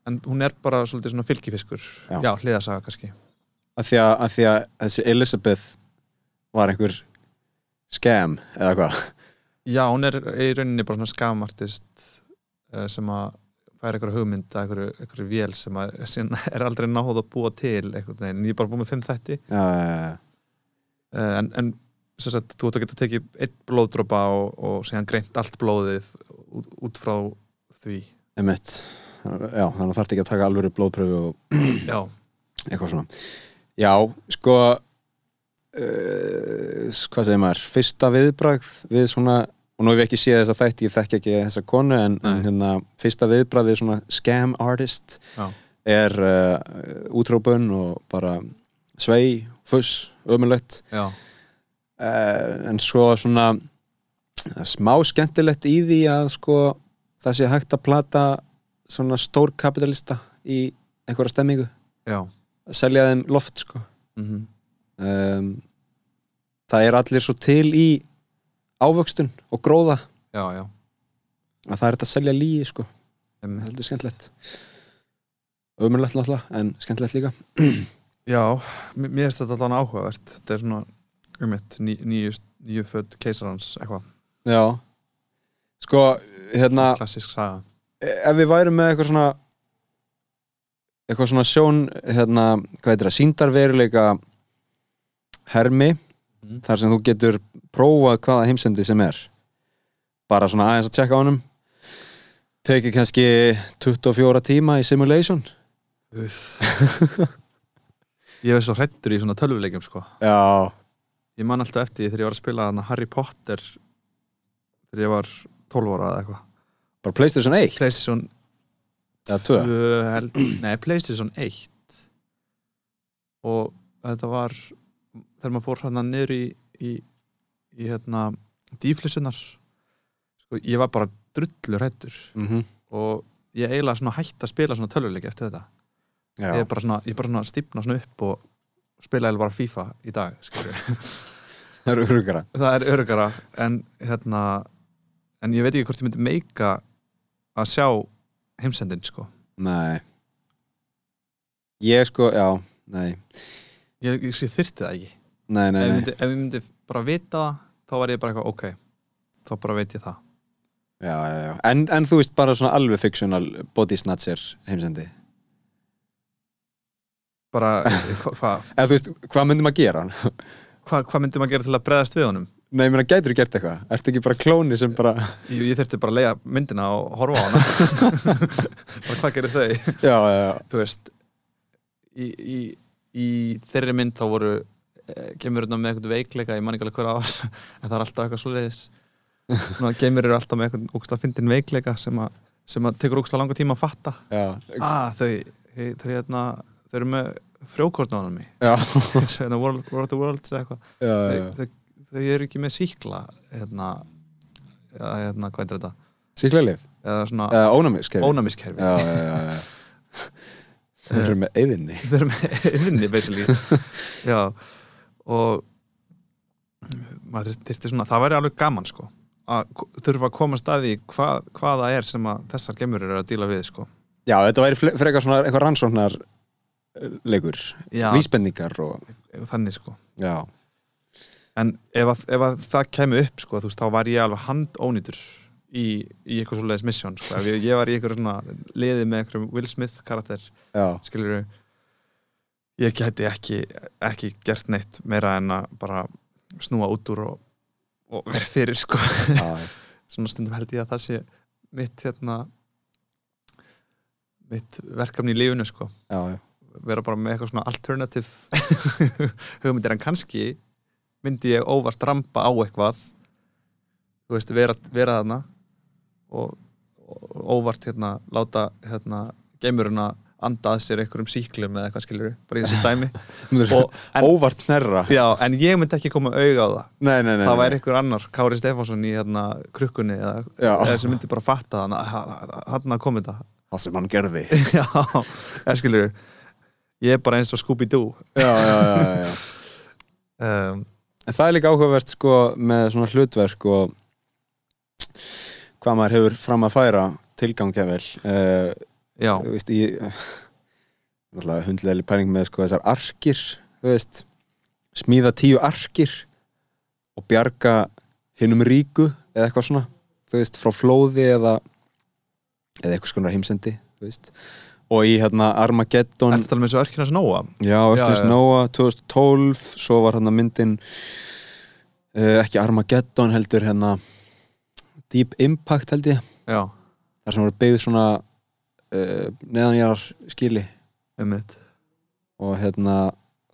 Speaker 2: en hún er bara svolítið svona fylgifiskur
Speaker 1: Já.
Speaker 2: já hliðarsaga kannski
Speaker 1: Af því að, af því að þessi Elizabeth var einhver scam eða hvað
Speaker 2: Já, hún er í rauninni bara svona skamartist eh, sem að færa einhverju hugmynd að einhverju, einhverju vél sem að síðan er aldrei náð að búa til einhvern veginn, ég er bara búin með fimm þætti
Speaker 1: Já, já, já, já.
Speaker 2: Eh, en, en sem sagt, þú ert að geta tekið eitt blóðdropa og, og síðan greint allt blóðið út, út frá því
Speaker 1: einmitt Já, þannig að þarfti ekki að taka alvöru blóðpröfu og
Speaker 2: Já,
Speaker 1: eitthvað svona Já, sko uh, hvað segir maður fyrsta viðbragð við svona og nú hef ég ekki séð þessa þætti, ég þekki ekki þessa konu en, en
Speaker 2: Nei.
Speaker 1: hérna, fyrsta viðbragð við svona scam artist
Speaker 2: já,
Speaker 1: er uh, útrópun og bara svei, fuss, ömulegt
Speaker 2: já,
Speaker 1: uh, en svo svona það er smá skemmtilegt í því að sko það sé hægt að plata svona stór kapitalista í einhverja stemmingu
Speaker 2: já
Speaker 1: að selja þeim loft sko
Speaker 2: mm
Speaker 1: um, það er allir svo til í ávöxtun og gróða
Speaker 2: Já, já,
Speaker 1: að það er hægt að selja líi sko
Speaker 2: Einmitt.
Speaker 1: heldur skemmtilegt ömurlegt náttúrulega, en skemmtilegt líka
Speaker 2: Já, mér mér finnst þetta allan áhugavert þetta er svona, um mitt ný, nýju, nýju född keisarans, eitthvað
Speaker 1: Já Sko, hérna
Speaker 2: klassísk saga
Speaker 1: Ef við værum með eitthvað svona eitthvað svona sjón hérna, hvað heitir það, síndarveruleika hermi
Speaker 2: Mhm.
Speaker 1: þar sem þú getur prófað hvaða heimsendi sem er bara svona aðeins að tjekka á honum tekið kannski 24 tíma í simulation
Speaker 2: Uð. Ég er svo hrættur í svona tölvuleikjum sko
Speaker 1: Já,
Speaker 2: Ég man alltaf eftir því þegar ég var að spila hana Harry Potter þegar ég var 12 ára eða eitthvað
Speaker 1: bara Playstation 1
Speaker 2: Playstation
Speaker 1: Eða tvö.
Speaker 2: tvö held, Nei, Playstation 1 og þetta var þegar maður fór hérna niður í í, í hérna dýflissunar sko, ég var bara drullur hættur
Speaker 1: mm
Speaker 2: og ég eiginlega svona hætti að spila svona tölvuleik eftir þetta
Speaker 1: Já,
Speaker 2: ég er bara svona, ég er bara svona stífna svona upp og spila eiginlega bara FIFA í dag skilur við.
Speaker 1: það eru hugara
Speaker 2: það er örgara en hérna en ég veit ekki hvort ég myndi meika að sjá heimsendin sko
Speaker 1: Nei Ég sko, já, nei
Speaker 2: ég, ég, ég þyrti það ekki
Speaker 1: Nei, nei,
Speaker 2: ef, ég
Speaker 1: nei,
Speaker 2: myndi, ef ég myndi bara vita það þá var ég bara eitthvað ok þá bara veit ég það
Speaker 1: já, já, já. En, en þú veist bara svona alveg fictional body snatcher heimsendi
Speaker 2: bara hvað hva,
Speaker 1: eða þú veist, hvað myndum að gera hann?
Speaker 2: hva, hva myndi maður gera til að breðast við honum
Speaker 1: Nei, ég meina, gætur þú gert eitthvað? Ertu ekki bara klóni sem bara
Speaker 2: ég, ég þurfti bara að leiða myndina og horfa á hana bara hvað gerir þau
Speaker 1: Já, já, já,
Speaker 2: þú veist í, í, í þeirri mynd þá voru eh, geimurinn með eitthvað veikleika ég man ekki alveg hver ár en það er alltaf eitthvað svoleiðis Ná, geimur eru alltaf með eitthvað ógst að fyndin veikleika sem að, sem að tekur ógst að langa tíma að fatta
Speaker 1: já,
Speaker 2: ah, þau, þau, þau, hérna, þau eru með frjókortnáðanum í
Speaker 1: já,
Speaker 2: hérna, World, World of the Worlds eða eitthvað
Speaker 1: já, já, já.
Speaker 2: þau, þau, þau eru ekki með síkla hérna, eða, hérna hvað er þetta
Speaker 1: Sýklarlif?
Speaker 2: eða svona
Speaker 1: Eða ónæmiskerfi?
Speaker 2: ónæmiskerfi
Speaker 1: Já, já, já, já Þeir eru með eyðinni
Speaker 2: þau eru með yðinni basically já og maður þyrfti svona það væri alveg gaman sko að ko- þurfa að koma staði hvað, hvað það er sem að þessar gemur eru að díla við sko
Speaker 1: Já, þetta væri fle- frekar svona eitthvað rannsóknar leikur,
Speaker 2: já,
Speaker 1: vísbendingar og,
Speaker 2: þannig sko
Speaker 1: já,
Speaker 2: En ef, að, ef að það kemur upp sko, þú veist, þá var ég alveg handónýtur í, í eitthvað svoleiðis mission sko. Ef ég, ég var í eitthvað svona liði með eitthvað Will Smith karakter,
Speaker 1: já
Speaker 2: skilur ég gæti ekki, ekki gert neitt meira en að bara snúa út úr og, og vera fyrir sko.
Speaker 1: Já,
Speaker 2: svona stundum held ég að það sé mitt hérna mitt verkefni í lífinu sko
Speaker 1: já, já,
Speaker 2: vera bara með eitthvað svona alternative hugmyndir en kannski myndi ég óvart rampa á eitthvað þú veist, vera, vera þarna og, og óvart hérna, láta hérna, geimuruna anda að sér einhverjum síklum eða eitthvað skilur bara í þessu dæmi
Speaker 1: já.
Speaker 2: og, en,
Speaker 1: Óvart nærra
Speaker 2: já, en ég myndi ekki koma auga á það
Speaker 1: Nei, nei, nei
Speaker 2: það
Speaker 1: nei.
Speaker 2: væri einhver annar, Kári Stefánsson í hérna, krukkunni eða,
Speaker 1: Já.
Speaker 2: eða sem myndi bara fatta þarna hann að koma þetta
Speaker 1: Það sem hann gerði
Speaker 2: já, eða skilur ég er bara eins og Scooby-Doo
Speaker 1: Já, já, já, já
Speaker 2: um,
Speaker 1: En það er líka áhugavert sko með svona hlutverk og hvað maður hefur fram að færa tilgangja vel uh,
Speaker 2: Já,
Speaker 1: veist, ég náttúrulega hundlega pæling með sko þessar arkir þú veist, smíða tíu arkir og bjarga hinum ríku eða eitthvað svona þú veist, frá flóði eða eða eitthvað skonar heimsendi þú veist, og í hérna
Speaker 2: er
Speaker 1: Armageddon
Speaker 2: þetta alveg um eins og örkina snóa?
Speaker 1: Já,
Speaker 2: Já,
Speaker 1: Örtins
Speaker 2: já.
Speaker 1: Nóa 2012 svo var hann myndin uh, ekki Armageddon heldur hérna Deep Impact held ég
Speaker 2: Já,
Speaker 1: þar sem voru byggð svona uh, neðanjar skili
Speaker 2: um mitt
Speaker 1: og hérna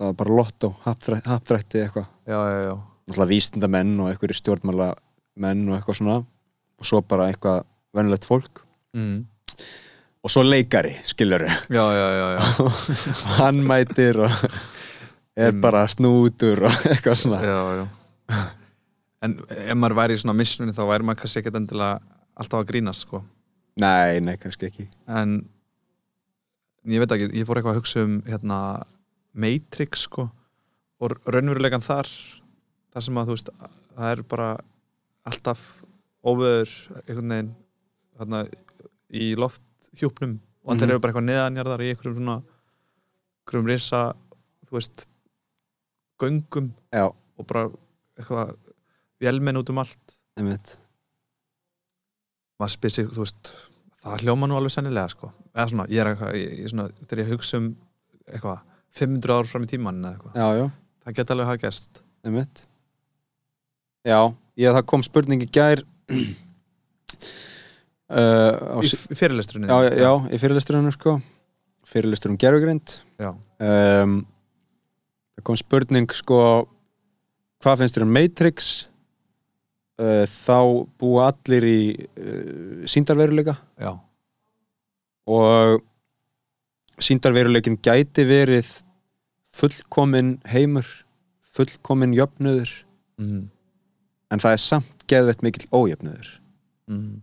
Speaker 1: það var bara lotto, hapdrætti, hapdrætti eitthvað
Speaker 2: Já, já, já,
Speaker 1: náttúrulega vístindamenn og einhverju stjórnmála menn og eitthvað svona og svo bara eitthvað venulegt fólk
Speaker 2: mm.
Speaker 1: og svo leikari, skiljur
Speaker 2: já, já, já, já.
Speaker 1: hann mætir og er
Speaker 2: Mm.
Speaker 1: bara snútur og eitthvað svona
Speaker 2: já, já. En ef maður væri í svona missunni þá væri maður kannski ekkert endilega alltaf að grínast sko.
Speaker 1: Nei, nei, kannski ekki
Speaker 2: en ég veit ekki, ég fór eitthvað að hugsa um hérna, Matrix sko, og raunverulegan þar þar sem að þú veist það er bara alltaf óveður einhvern veginn hérna, í loft veist, hjúpnum og allir
Speaker 1: Mhm.
Speaker 2: eru bara eitthvað neðanjarðar í einhverjum svona einhverjum risa þú veist, göngum
Speaker 1: Já.
Speaker 2: og bara eitthvað vélmenn út um allt
Speaker 1: einmitt
Speaker 2: maður spyr sig, þú veist það hljóma nú alveg sennilega, sko eða svona, ég er eitthvað, ég, ég svona, þegar ég hugsa um eitthvað, 500 ár fram í tíman eða eitthvað,
Speaker 1: Já, já,
Speaker 2: það geta alveg hafa gæst
Speaker 1: einmitt Já, ég, það kom spurning í gær uh, á,
Speaker 2: í
Speaker 1: sí-
Speaker 2: f- í fyrirlestrunni
Speaker 1: já, já, já, í fyrirlesturinn sko. fyrirlestur um gerfugrind
Speaker 2: Já.
Speaker 1: um, það kom spurning sko hvað finnst þér um Matrix uh, þá búa allir í uh, síndarveruleika
Speaker 2: já,
Speaker 1: og síndarveruleikin gæti verið fullkomin heimur fullkomin jöfnuður
Speaker 2: mhm,
Speaker 1: en það er samt geðvett mikill ójöfnuður
Speaker 2: mhm,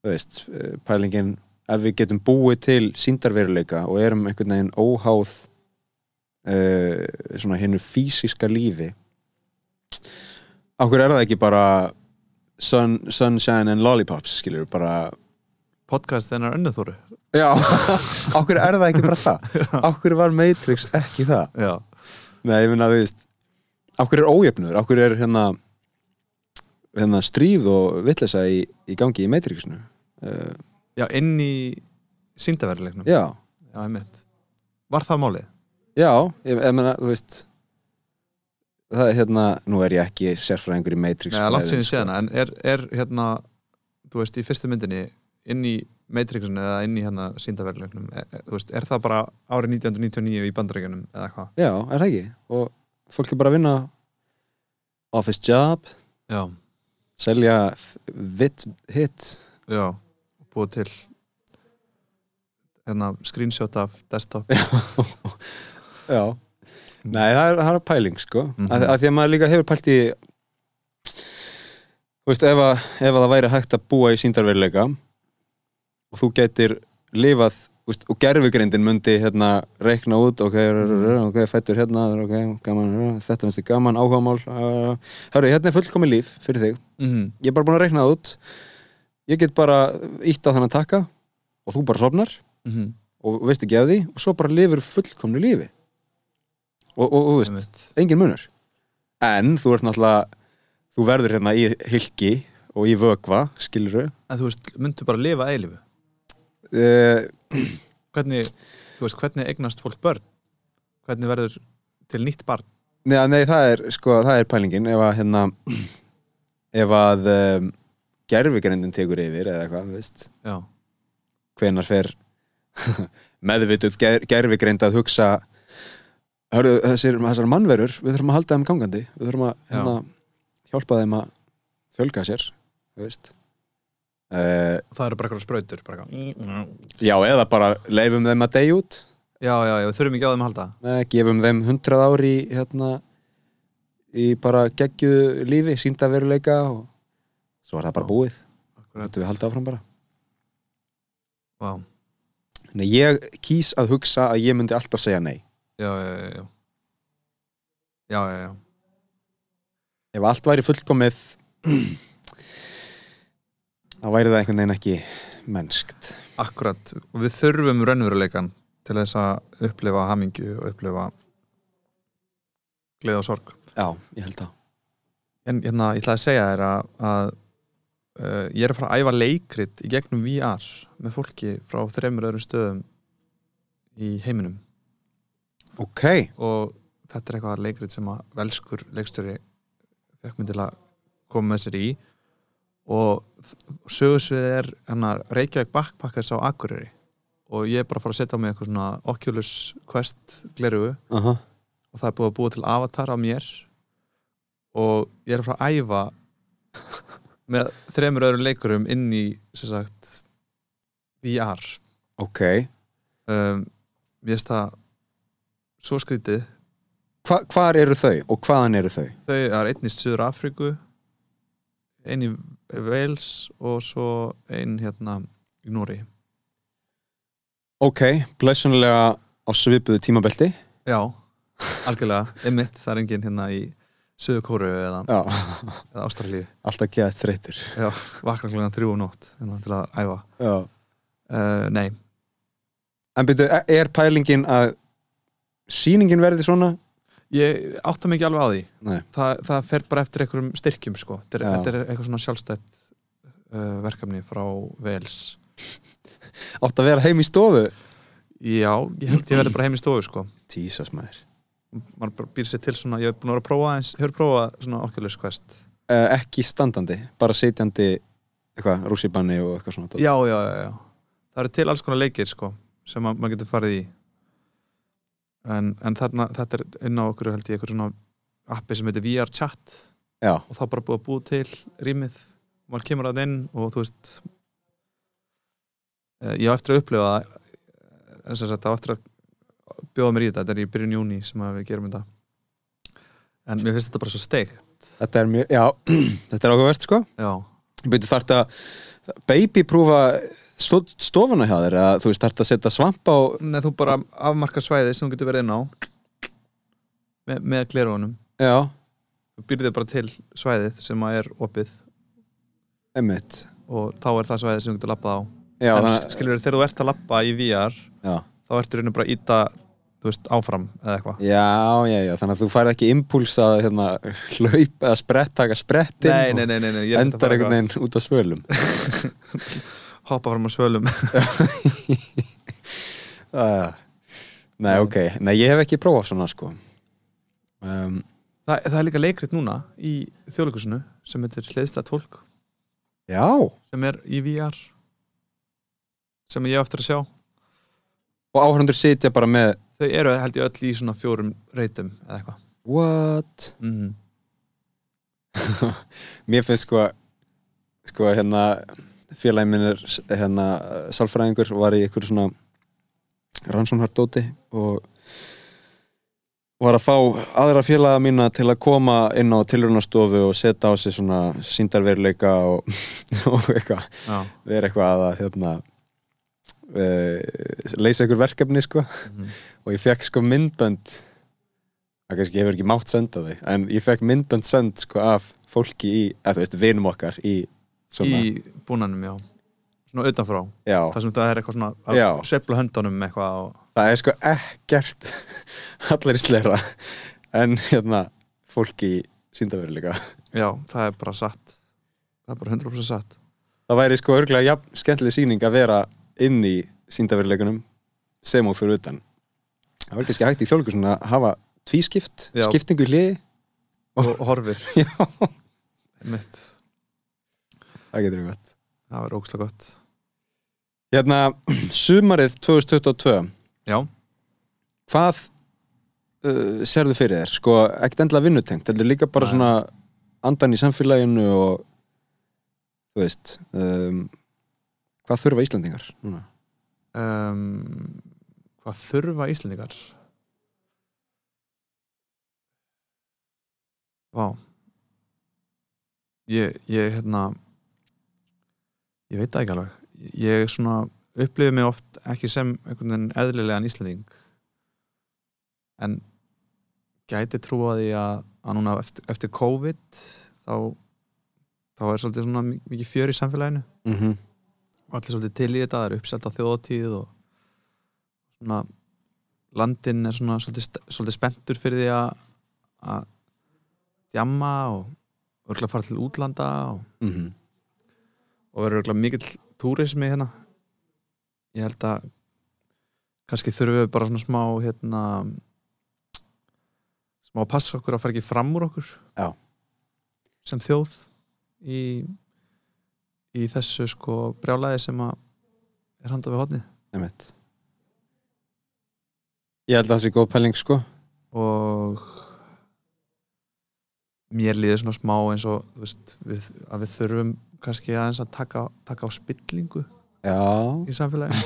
Speaker 1: þú veist, eh, pælingin ef við getum búið til síndarveruleika og erum einhvern veginn óháð uh, svona hennu fysiska lífi okkur er það ekki bara sun, sunshine and lollipops skilur bara
Speaker 2: podcast þennar önnuþóru
Speaker 1: já, okkur er það ekki bara það okkur var Matrix ekki það
Speaker 2: já,
Speaker 1: nei, ég finna að þú veist okkur er ójöfnur, okkur er hérna hérna stríð og villesa í, í gangi í Matrixinu uh,
Speaker 2: já, inn í síndaveruleiknum
Speaker 1: já
Speaker 2: Já, einmitt. Var það málið?
Speaker 1: Já, ég, ég meina, þú veist það er hérna, nú er ég ekki sérfræðingur í Matrix
Speaker 2: Nei,
Speaker 1: fræðum,
Speaker 2: langt
Speaker 1: sko.
Speaker 2: síðan séðan, en er, er hérna, þú veist, í fyrstu myndinni inn í Matrixinu eða inn í hérna síndaverulegnum, er, er, þú veist, er það bara árið 1999 í bandaríkjunum eða hvað?
Speaker 1: Já, er það ekki og fólk er bara að vinna office job,
Speaker 2: Já.
Speaker 1: selja f- vit, hit
Speaker 2: Já, búið til hérna screenshot af desktop.
Speaker 1: Já, nei, það er, það er pæling sko, mm
Speaker 2: Mhm.
Speaker 1: -hmm. að, því að maður líka hefur pælt í þú veist, ef að, ef að það væri hægt að búa í síndarveruleika og þú getur lifað þú veist, og gerfugrindin mundi hérna reikna út, ok, r- r- r- ok, fættur hérna ok, gaman, r- þetta finnst þið gaman áhugamál, uh, hörru, hérna er fullkomi líf fyrir þig,
Speaker 2: Mm -hmm.
Speaker 1: ég er bara búin að reikna það út ég get bara ítt á þannig að taka og þú bara sofnar
Speaker 2: Mm
Speaker 1: og veist ekki af því og svo bara lifur fullkomnu lífi og, og, og þú veist, engin munur en þú ert náttúrulega þú verður hérna í hilki og í vökva, skiluru
Speaker 2: En þú veist, myndu bara lifa eilifu.
Speaker 1: uh,
Speaker 2: Hvernig, þú veist, hvernig eignast fólk börn? Hvernig verður til nýtt barn?
Speaker 1: nei, nei, það er sko, það er pælingin ef að hérna ef að um, gerfugrindin tekur yfir eða eitthvað, þú veist
Speaker 2: Já.
Speaker 1: hvenar fer meðvituð ger, gerfugreind að hugsa hörðu, þessir, þessar mannverur við þurfum að halda þeim gangandi við þurfum að
Speaker 2: Já.
Speaker 1: hérna, hjálpa þeim að fjölga sér þú veist uh,
Speaker 2: Það eru bara eitthvað sprautur, bara eitthvað.
Speaker 1: já, eða bara leifum þeim að deyja út
Speaker 2: Já, já, já, við þurfum ekki á þeim að halda.
Speaker 1: eh, gefum þeim hundrað ári í, hérna, í bara geggju lífi síndaveruleika og svo er það bara
Speaker 2: Já.
Speaker 1: búið
Speaker 2: Akkurat.
Speaker 1: þetta við halda áfram bara
Speaker 2: Vá,
Speaker 1: Nei, ég kýs að hugsa að ég myndi alltaf segja nei
Speaker 2: já, já, já, já. Já, já, já.
Speaker 1: ef allt væri fullkomið þá væri það einhvern veginn ekki mennskt
Speaker 2: Akkurat. Og við þurfum raunveruleikan til þess að upplifa hamingju og upplifa gleði og sorg.
Speaker 1: já, ég held það
Speaker 2: En hérna, ég ætla að segja þér að, að uh, ég er að fara að æfa leikrit í gegnum VR með fólki frá þremur öðrum stöðum í heiminum.
Speaker 1: ok,
Speaker 2: og þetta er eitthvað leikrit sem að velskur leikstöri fekk mig til að koma með sér í og sögursvið er hana, Reykjavík Backpackers á Akureyri og ég er bara að fara að setja á mig eitthvað svona Oculus Quest glerugu
Speaker 1: aha,
Speaker 2: og það er búið að búa til avatar á mér og ég er að fara að æfa með þremur öðrum leikurum inn í sem sagt VR
Speaker 1: ok
Speaker 2: um, ég veist það svo skrítið
Speaker 1: Hva, hvar eru þau og hvaðan eru þau
Speaker 2: þau það er einn í Suður Afríku einn í Wales og svo einn hérna í Núri
Speaker 1: ok, blessunlega á svipuðu tímabelti
Speaker 2: já, algjörlega, emitt það er enginn hérna í Suður Kóru eða,
Speaker 1: já,
Speaker 2: eða Ástralíu
Speaker 1: alltaf geða þreytur
Speaker 2: um vakna klugan þrjú og nótt hérna, til að æfa
Speaker 1: já,
Speaker 2: uh, nei,
Speaker 1: En byrju, e, er pælingin að sýningin verði svona?
Speaker 2: ég átta mikið alveg á því
Speaker 1: Nei.
Speaker 2: Þa, það fer bara eftir einhverjum styrkjum sko. þetta,
Speaker 1: Já.
Speaker 2: er, þetta er eitthvað svona sjálfstætt uh, verkefni frá Wales
Speaker 1: Átt að vera heim í stofu?
Speaker 2: já, ég held ég verði bara heim í stofu sko.
Speaker 1: Tísas maður.
Speaker 2: maður bara býr sér til svona ég hef búin að vera að prófa, eins, hefur prófað svona Oculus Quest
Speaker 1: Uh, ekki standandi, bara sitjandi eitthvað, rússibanni og eitthvað svona. dót.
Speaker 2: já, já, já, já það eru til alls konar leikir sko, sem ma- maður getur farið í en, en þarna, þetta er inn á okkur held ég eitthvað svona appi sem heitir VR chat
Speaker 1: Já,
Speaker 2: og þá bara búið að búið til rýmið maður kemur að inn og þú veist eh, ég á eftir að upplifa það eh, sem sagt, á eftir að bjóða mér í þetta, þetta er í byrjun júni sem að við gerum þetta en mér finnst þetta bara svo steikt
Speaker 1: þetta er mjög, já, þetta er áhugavert sko.
Speaker 2: já,
Speaker 1: Byrju, þarf að babyprúfa sto- stofuna hjá þér, að þú veist, þarf að setja svamp á,
Speaker 2: Nei, þú bara afmarka svæði sem þú getur verið inn á með, með glerugunum
Speaker 1: já,
Speaker 2: þú býrðir bara til svæðið sem að er opið
Speaker 1: einmitt.
Speaker 2: og þá er það svæðið sem þú getur labbað á
Speaker 1: Já,
Speaker 2: en
Speaker 1: þannig, að-
Speaker 2: skilur þegar þú ert að labba í VR
Speaker 1: já.
Speaker 2: þá ertu rauninu bara að íta þú veist, áfram eða eitthvað
Speaker 1: Já, já, já, þannig að þú færð ekki impuls að hérna, hlaupa eða sprett, taka sprettinn
Speaker 2: nei,
Speaker 1: og
Speaker 2: nei, nei, nei, nei, ég er
Speaker 1: endar einhvern
Speaker 2: eitthvað
Speaker 1: veginn út á svölum
Speaker 2: að hoppa fram á svölum
Speaker 1: uh, Nei, ok, nei, ég hef ekki prófað svona sko um,
Speaker 2: Þa, það er líka leikrit núna í þjóðleikusinu sem heitir hliðslega tólk
Speaker 1: Já, og
Speaker 2: sem er í VR sem ég á eftir að sjá
Speaker 1: áhörnundur sitja bara með
Speaker 2: þau eru held ég öll í svona fjórum reytum eða eitthvað
Speaker 1: What?
Speaker 2: mm
Speaker 1: Mér finnst sko sko hérna félagi minn er hérna sálfræðingur og var í einhverju svona rannsónhardóti og var að fá aðra félaga mína til að koma inn á tilrunastofu og setja á sig svona síndarveruleika og, og eitthvað
Speaker 2: Já,
Speaker 1: vera eitthvað að hérna uh, leysa einhver verkefni sko
Speaker 2: mhm.
Speaker 1: og ég fekk sko myndbönd það kannski hefur ekki mátt senda þau en ég fekk myndbönd send sko af fólki í, eða þú veist, vinum okkar í svona,
Speaker 2: í búnanum, já svona utanfrá,
Speaker 1: já,
Speaker 2: það sem það er eitthvað svona að
Speaker 1: Já.
Speaker 2: sveifla höndunum eitthvað og...
Speaker 1: það er sko ekkert allir í slera en hérna, fólki í síndaveruleika,
Speaker 2: já, það er bara satt það er bara 100% satt
Speaker 1: það væri sko örgulega jafn skemmtileg sýning að vera inn í síndaveruleikunum sem og fyrir utan það var kannski hægt í þjóðlíku svona að hafa tvískipt,
Speaker 2: Já.
Speaker 1: skiptingu í hliði
Speaker 2: og og horfir
Speaker 1: já,
Speaker 2: mitt,
Speaker 1: það getur við gott
Speaker 2: það var ógslag gott
Speaker 1: hérna, sumarið 2022
Speaker 2: já,
Speaker 1: hvað uh, serðu fyrir þér? Sko, ekkert endla vinnutengt, heldur líka bara
Speaker 2: Nei.
Speaker 1: svona andan í samfélaginu og þú veist um, hvað þurfa Íslandingar? Núna?
Speaker 2: um, hvað þurfa Íslendingar Vá ég, ég hérna ég veit það ekki alveg ég svona upplifi mig oft ekki sem einhvern veginn eðlilegan Íslending en gæti trúa því að, að núna eftir, eftir COVID þá, þá er svolítið svona mi- mikið fjör í samfélaginu
Speaker 1: Mm -hmm.
Speaker 2: og allir svolítið til í þetta, það er uppselt á þjóðatíð og svona landin er svona svolítið, st- svolítið spenntur fyrir því að að djamma og örgulega fara til útlanda og,
Speaker 1: Mm -hmm.
Speaker 2: og verður örgulega mikill túrismi hérna ég held að kannski þurfum við bara svona smá hérna smá að passa okkur að fara ekki fram úr okkur
Speaker 1: Já.
Speaker 2: sem þjóð í, í þessu sko brjálæði sem að er handa við hodnið
Speaker 1: Ég held að það sé góð pæling sko
Speaker 2: og mér líður svona smá eins og þú veist, við, að við þurfum kannski aðeins að taka, taka á spillingu
Speaker 1: Já,
Speaker 2: í samfélagi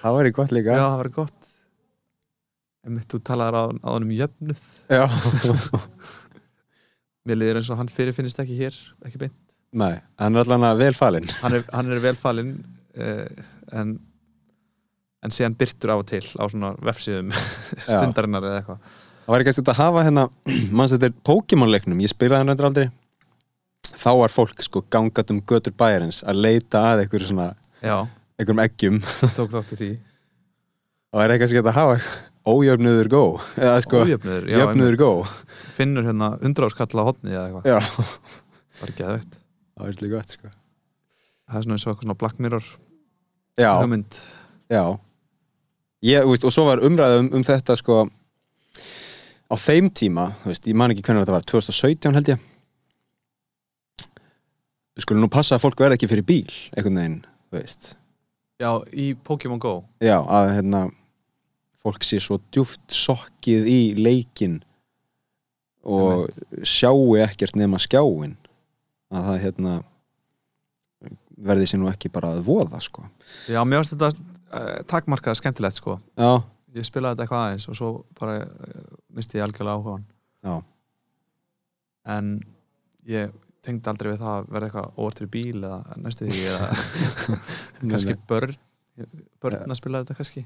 Speaker 1: það væri gott líka
Speaker 2: já, það var gott emitt, þú talaðar á, á um jöfnuð
Speaker 1: Já.
Speaker 2: mér líður eins og hann fyrirfinnist ekki hér ekki beint,
Speaker 1: Nei, hann er allan að vel falinn
Speaker 2: hann er, hann er velfalinn uh, en en síðan byrtur af og til á svona vefsíðum stundarinnar eða eitthvað
Speaker 1: Það væri kannski þetta að hafa hérna, mannst þetta er Pokémon leiknum, ég spilaði hann reyndar aldrei þá var fólk sko gangat um götur bæjarins að leita að einhverjum svona
Speaker 2: já,
Speaker 1: einhverjum eggjum
Speaker 2: ég tók þátt í því
Speaker 1: og er eitthvað sem geta að hafa ójöfnuður gó eða sko
Speaker 2: ójöfnur, já,
Speaker 1: jöfnuður
Speaker 2: einmitt.
Speaker 1: gó
Speaker 2: finnur hérna 100 áskall á hotni eða eitthvað,
Speaker 1: já,
Speaker 2: það er geðveitt
Speaker 1: það er líka gott sko
Speaker 2: það er svona eins og eitthvað svona Black Mirror
Speaker 1: já,
Speaker 2: hugmynd
Speaker 1: já ég, þú veist, og svo var umræðum um þetta sko á þeim tíma, þú veist, ég man ekki hvernig þetta var 2017 held ég við skulum nú passa að fólk verði ekki fyrir bíl, einhvern veginn þú veist,
Speaker 2: já, í Pokémon Go
Speaker 1: já, að hérna fólk sé svo djúft sokkið í leikin og sjáu ekkert nema skjáin að það hérna verði sér nú ekki bara að voða sko,
Speaker 2: já, mér varst þetta uh, takmarkað skemmtilegt sko
Speaker 1: já
Speaker 2: ég spilaði þetta eitthvað aðeins og svo bara uh, misti ég algjörlega áhugan
Speaker 1: Já.
Speaker 2: en ég tengdi aldrei við það að verða eitthvað óvart fyrir bíl eða næstu því eða kannski börn börn að spila þetta kannski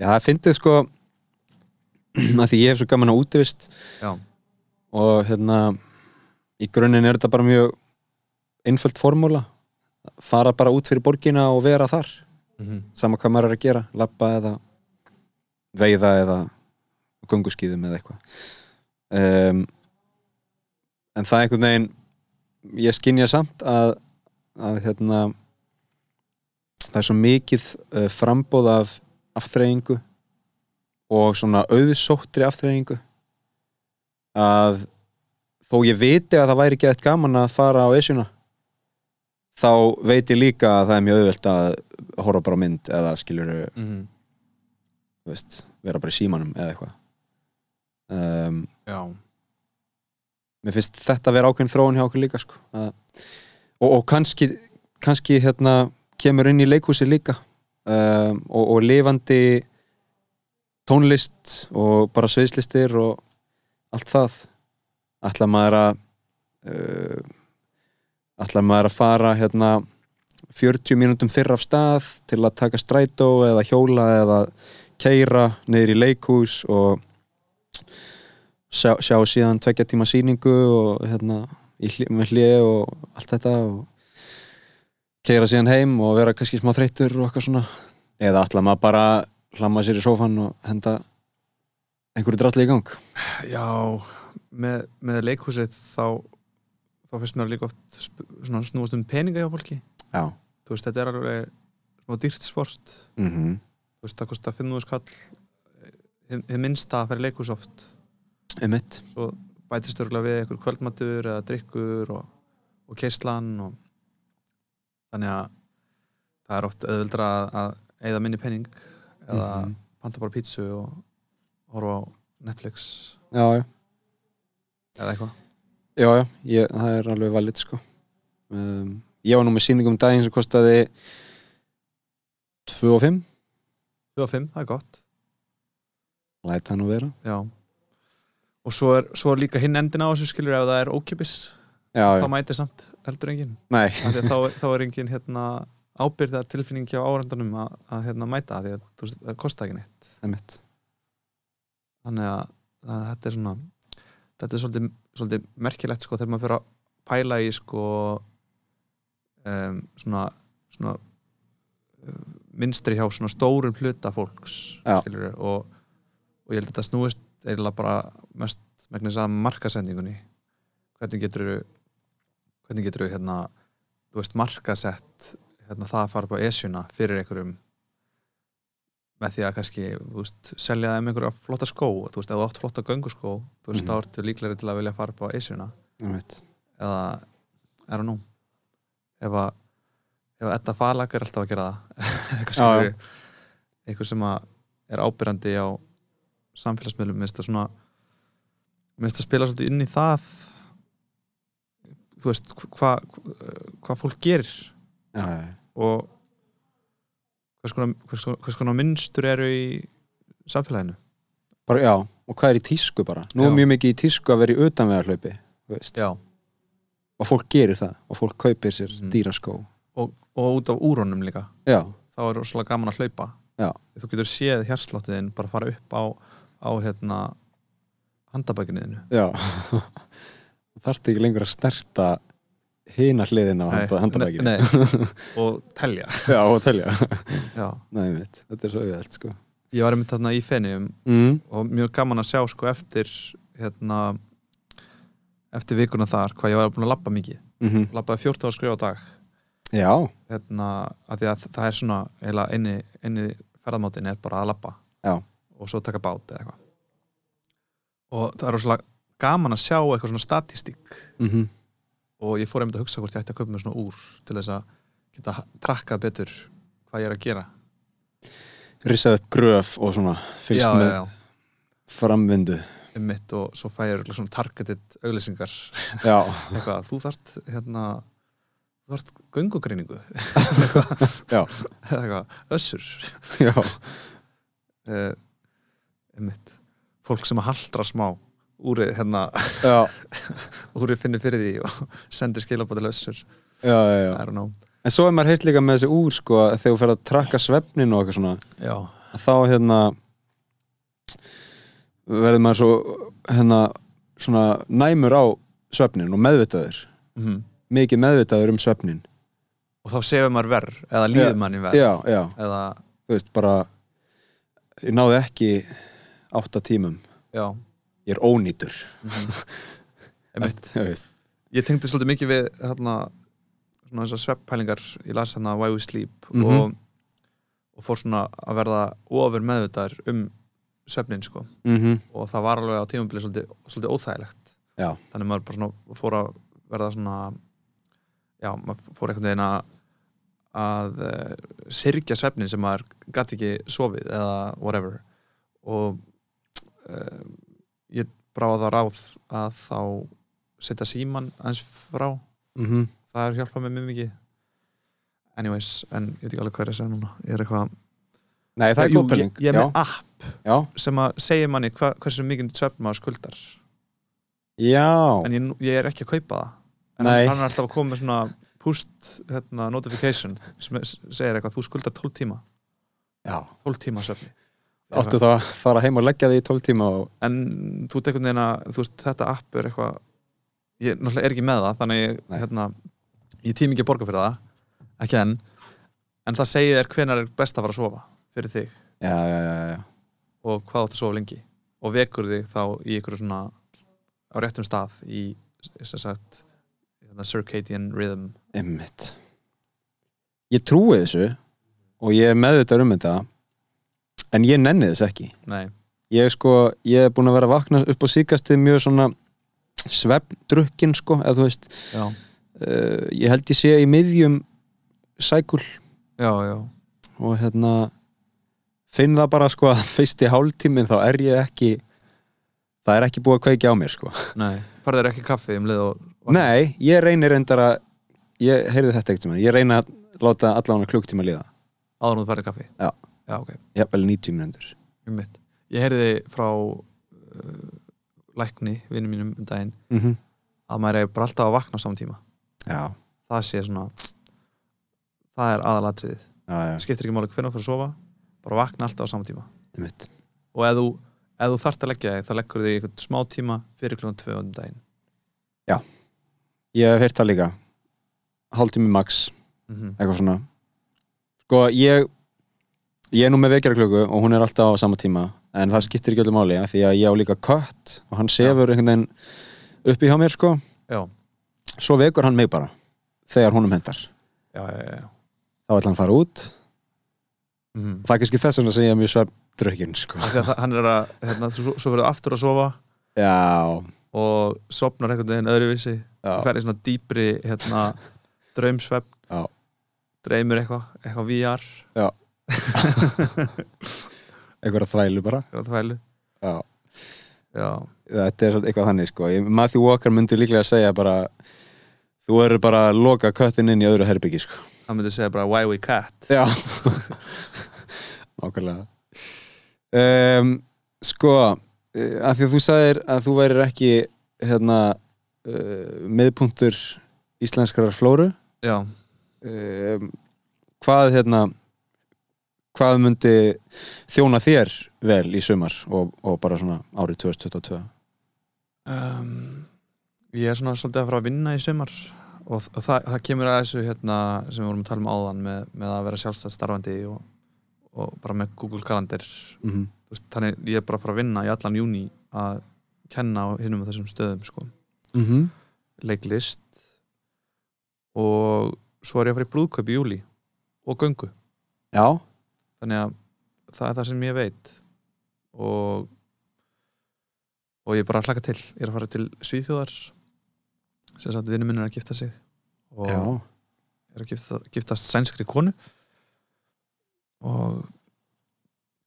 Speaker 1: Já, það fyndið sko að því ég hef svo gaman að útivist
Speaker 2: já,
Speaker 1: og hérna í grunninn er þetta bara mjög einföld formúla fara bara út fyrir borgina og vera þar sama hvað maður er að gera, labba eða veiða eða gunguskýðum eða eitthvað um, en það er einhvern veginn ég skynja samt að, að hérna það er svo mikið uh, frambóð af afþreyingu og svona auðsóttri afþreyingu að þó ég viti að það væri ekki eitt gaman að fara á esjuna þá veit ég líka að það er mjög auðvelt að horfa bara á mynd eða skilur veist, vera bara í símanum eða eitthvað um,
Speaker 2: já,
Speaker 1: mér finnst þetta að vera ákveðin þróun hjá okkur líka sko. að, og, og kannski kannski hérna kemur inn í leikhúsi líka um, og, og lifandi tónlist og bara sveislistir og allt það ætla maður að uh, ætla maður að fara hérna 40 mínútum fyrr af stað til að taka strætó eða hjóla eða keira niður í leikhús og sjá, sjá síðan tvekja tíma sýningu og hérna í hli, með hlið og allt þetta og keira síðan heim og vera kannski smá þreyttur og eitthvað svona eða ætla maður bara að hlamma sér í sófan og henda einhverju dralli í gang
Speaker 2: já með, með leikhúsið þá þá finnst mér líka oft sp- svona snúast um peninga hjá fólki
Speaker 1: já,
Speaker 2: þú veist, þetta er alveg smá dýrt sport
Speaker 1: mhm,
Speaker 2: þú veist, það kostar 500 skall hið hið minnsta að fara í leikhús oft
Speaker 1: emitt
Speaker 2: svo bætist örgulega við einhver kvöldmatur eða drikkur og, og keislan og þannig að það er oft auðveldra að, að eigða minni penning eða
Speaker 1: Mhm.
Speaker 2: panta bara pítsu og horfa á Netflix
Speaker 1: já, já,
Speaker 2: eða eitthvað
Speaker 1: já, já ég, það er alveg valið sko um, ég var nú með sýningum um daginn sem kostaði 2 og 5
Speaker 2: 2 og 5, það er gott
Speaker 1: læta hann nú vera
Speaker 2: já. og svo er, svo er líka hinn endin á þessu skilur ef það er ókipis
Speaker 1: já,
Speaker 2: þá
Speaker 1: já,
Speaker 2: mætir samt heldur enginn
Speaker 1: nei,
Speaker 2: Af því að þá, er- þá er engin hérna, ábyrða tilfinning hjá árandanum að, að hérna, mæta af því að þú veist, það kosta ekki neitt
Speaker 1: emitt
Speaker 2: þannig að, að þetta er svona þetta er svolítið, svolítið merkilegt sko þegar maður fyrir að pæla í sko um, svona, svona um, minnstri hjá svona stórum hluta fólks
Speaker 1: Já.
Speaker 2: skilurðu, og, og ég held að þetta snúist eiginlega bara mest megnis að markasendingunni hvernig getur hvernig getur hérna þú veist markasett hérna, það að fara upp á esjuna fyrir einhverjum með því að kannski þú veist, selja þeim einhverja flotta skó þú veist, ef þú átt flotta gönguskó þú veist,
Speaker 1: Mhm.
Speaker 2: þá ertu líklegri til að vilja fara upp á Esjuna
Speaker 1: emitt
Speaker 2: eða, er það nú ef að ef að Edda Falag er alltaf að gera það eitthvað sem
Speaker 1: Já, já.
Speaker 2: er eitthvað sem að er ábyrjandi á samfélagsmiðlum minnst að svona minnst að spila svolítið inn í það þú veist hvað hva, hva fólk gerir
Speaker 1: já, já, já.
Speaker 2: og hvers konar, hvers, konar- hvers konar minnstur eru í samfélaginu
Speaker 1: bara, já, og hvað er í tísku bara nú er
Speaker 2: Já.
Speaker 1: mjög mikið í tísku að vera í utanvegarhlaupi þú veist.
Speaker 2: Já.
Speaker 1: og fólk gerir það og fólk kaupir sér
Speaker 2: Mhm.
Speaker 1: dýraskó
Speaker 2: og, og út af úrónum líka
Speaker 1: já,
Speaker 2: þá er rosalega gaman að hlaupa
Speaker 1: Já.
Speaker 2: þú getur séð hjartsláttiðin bara fara upp á, á hérna handabækinniðinu
Speaker 1: já þarfti ekki lengur að sterta hina hliðina á
Speaker 2: Nei,
Speaker 1: handa, handabækinu
Speaker 2: nei, nei. og telja
Speaker 1: Já, og telja
Speaker 2: já.
Speaker 1: Nei, mitt, þetta er svo auðvægt sko
Speaker 2: ég var einmitt þarna í fenniðum
Speaker 1: mm.
Speaker 2: og mjög gaman að sjá sko eftir hérna eftir vikuna þar hvað ég var búin að labba mikið
Speaker 1: Mm
Speaker 2: labbaði 14 skrifa á dag
Speaker 1: Já,
Speaker 2: hérna að því að það er svona eila einni, einni ferðamátin er bara að labba
Speaker 1: Já.
Speaker 2: og svo taka bát eða eitthvað og það er rosalega gaman að sjá eitthvað svona statistík
Speaker 1: mm
Speaker 2: og ég fór einmitt að hugsa hvort ég ætti að köpa mér svona úr til þess að geta trakkað betur hvað ég er að gera
Speaker 1: rissað upp gröf og svona fylgst
Speaker 2: já,
Speaker 1: með
Speaker 2: já,
Speaker 1: framvindu
Speaker 2: já, um mitt og svo fæ ég örugglega svona targeted auglýsingar
Speaker 1: Já,
Speaker 2: eitthvað, þú þart hérna þú þart göngugreiningu
Speaker 1: Já.
Speaker 2: eitthvað, össur
Speaker 1: já,
Speaker 2: uh, einmitt fólk sem haldra smá úrið hérna,
Speaker 1: já,
Speaker 2: úrið finnir fyrir því og sendir skilabóðilega össur
Speaker 1: já, já, já.
Speaker 2: I don't know
Speaker 1: En svo er maður heilt líka með þessi úr sko að þegar þú fer að trakka svefnin og eitthvað svona
Speaker 2: já,
Speaker 1: að þá hérna verður maður svo hérna svona næmur á svefnin og meðvitaður
Speaker 2: mhm.
Speaker 1: mikið meðvitaður um svefnin
Speaker 2: og þá sefur maður verð eða líður
Speaker 1: Já,
Speaker 2: manni verð
Speaker 1: Já, já,
Speaker 2: eða,
Speaker 1: þú veist bara ég náði ekki átta tímum
Speaker 2: já
Speaker 1: ég er ónýtur
Speaker 2: mhm. einmitt
Speaker 1: Þú veist.
Speaker 2: ég tengdi svolítið mikið við hérna, svona þessar sveppælingar ég las hérna Why We Sleep
Speaker 1: Mhm.
Speaker 2: og, og fór svona að verða ofur meðvitaður um svefnin sko.
Speaker 1: Mhm.
Speaker 2: og það var alveg á tímabili svolítið, svolítið óþægilegt
Speaker 1: Já.
Speaker 2: þannig maður bara svona fór að verða svona já, maður fór einhvern veginn að að uh, sirkja svefnin sem maður gæti ekki sofið eða whatever og uh, ég bráða það ráð að þá setja síman aðeins frá
Speaker 1: Mhm.
Speaker 2: það er hjálpað mér mjög mikið anyways, en ég veit ekki alveg hvað er að segja núna ég er eitthvað
Speaker 1: Nei, það er
Speaker 2: Jú,
Speaker 1: góð pæling
Speaker 2: ég, ég er
Speaker 1: já,
Speaker 2: með app
Speaker 1: já,
Speaker 2: sem að segja manni hva, hversu mikið svefn maður skuldar
Speaker 1: já,
Speaker 2: en ég, ég er ekki að kaupa það en
Speaker 1: Nei.
Speaker 2: hann er alltaf að koma með svona post hérna, notification sem er- segir eitthvað, þú skuldar 12 tíma
Speaker 1: já.
Speaker 2: 12 tíma svefni
Speaker 1: Áttu það að fara heim og leggja þig í 12 tíma og...
Speaker 2: en þú tekur neina, þú veist, þetta app er eitthvað ég náttúrulega er ekki með það þannig að ég,
Speaker 1: Nei.
Speaker 2: hérna, ég tími ekki að borga fyrir það ekki enn, en það segir þér hvenær er best að fara að sofa fyrir þig
Speaker 1: Já, já, já, já
Speaker 2: og hvað áttu að sofa lengi og vekur þig þá í ykkur svona á réttum stað í sem sagt hérna, circadian rhythm
Speaker 1: Einmitt. Ég trúi þessu og ég er meðvitað um þetta en ég nenni þess ekki.
Speaker 2: nei,
Speaker 1: Ég er sko, ég er búin að vera að vakna upp á síkastið mjög svona svefndrukkin sko, eða þú veist
Speaker 2: já,
Speaker 1: uh, ég held ég sé í miðjum sækul
Speaker 2: já, já
Speaker 1: og hérna finn það bara sko að fyrst í hálftíminn þá er ég ekki það er ekki búið að kveikja á mér sko
Speaker 2: nei, farið þér ekki kaffi um leið og
Speaker 1: Nei, ég reynir reyndar að ég heyrði þetta ekkert um ég reyni að láta allan klukktíma líða
Speaker 2: áður en þú farið þér kaffi
Speaker 1: Já.
Speaker 2: já, ok,
Speaker 1: jafnvel 90 mínútur
Speaker 2: um mitt ég heyrði frá uh, lækni, vinnum mínum um daginn
Speaker 1: mm -hmm.
Speaker 2: að maður er bara alltaf að vakna á saman tíma
Speaker 1: Já,
Speaker 2: það sé svona það er aðalatriðið,
Speaker 1: já, já,
Speaker 2: skiptir ekki máli hvernig þú fyrir að sofa bara vakna alltaf á saman tíma
Speaker 1: einmitt
Speaker 2: og ef þú, ef þú þarft að leggja þig þá leggur þig í einhvern smá tíma fyrir klukkan 2 um daginn
Speaker 1: Ég hef heyrt það líka Hálftími max,
Speaker 2: mm
Speaker 1: eitthvað svona Sko, ég Ég er nú með vekjaraklöku og hún er alltaf á sama tíma En það skiptir ekki öllu máli af Því að ég á líka kött og hann sefur einhvern veginn uppi hjá mér sko
Speaker 2: já,
Speaker 1: Svo vekur hann mig bara Þegar honum hendar
Speaker 2: já, já, já, já.
Speaker 1: Þá ætla hann fara út
Speaker 2: Mm -hmm.
Speaker 1: Það er kannski þess vegna sem ég er mjög svefndrökkin sko
Speaker 2: Þegar það- hann er að hérna, svo, svo fyrir aftur að sofa
Speaker 1: Já,
Speaker 2: og sopnar einhvern veginn öðruvísi
Speaker 1: já,
Speaker 2: fer í svona dýpri hérna, draumsvefn
Speaker 1: Já.
Speaker 2: dreymir eitthvað, eitthvað VR
Speaker 1: einhverja þvælu bara
Speaker 2: eitthvað þvælu
Speaker 1: Já.
Speaker 2: já,
Speaker 1: Þetta er eitthvað þannig sko Ég- Matthew Walker myndi líklega að segja bara Þú eru bara að loka köttin inn í öðru herbyggi sko
Speaker 2: hann myndi segja bara why we cat
Speaker 1: Já Nákvæmlega um, Sko eh, að því að þú sagðir að þú værir ekki hérna uh, miðpunktur íslenskrar flóru
Speaker 2: já,
Speaker 1: um, hvað hérna hvað myndi þjóna þér vel í sumar og, og bara svona árið 2022
Speaker 2: um, ég er svona svolítið að fara að vinna í sumar og þ- það, það kemur að þessu hérna sem við vorum að tala um áðan með, með að vera sjálfstætt starfandi og, og bara með Google Calendar Þú
Speaker 1: mm -hmm.
Speaker 2: veist, þannig ég er bara að fara að vinna í allan júni að kenna á hinum og þessum stöðum sko.
Speaker 1: Mm -hmm.
Speaker 2: leiklist og svo er ég að fara í brúðkaup í júli og göngu
Speaker 1: Já,
Speaker 2: þannig að það er það sem ég veit og og ég er bara að hlaka til ég er að fara til Svíþjóðar sem sagt vinnum minn er að gifta sig og
Speaker 1: já,
Speaker 2: er að gifta, giftast sænskri konu og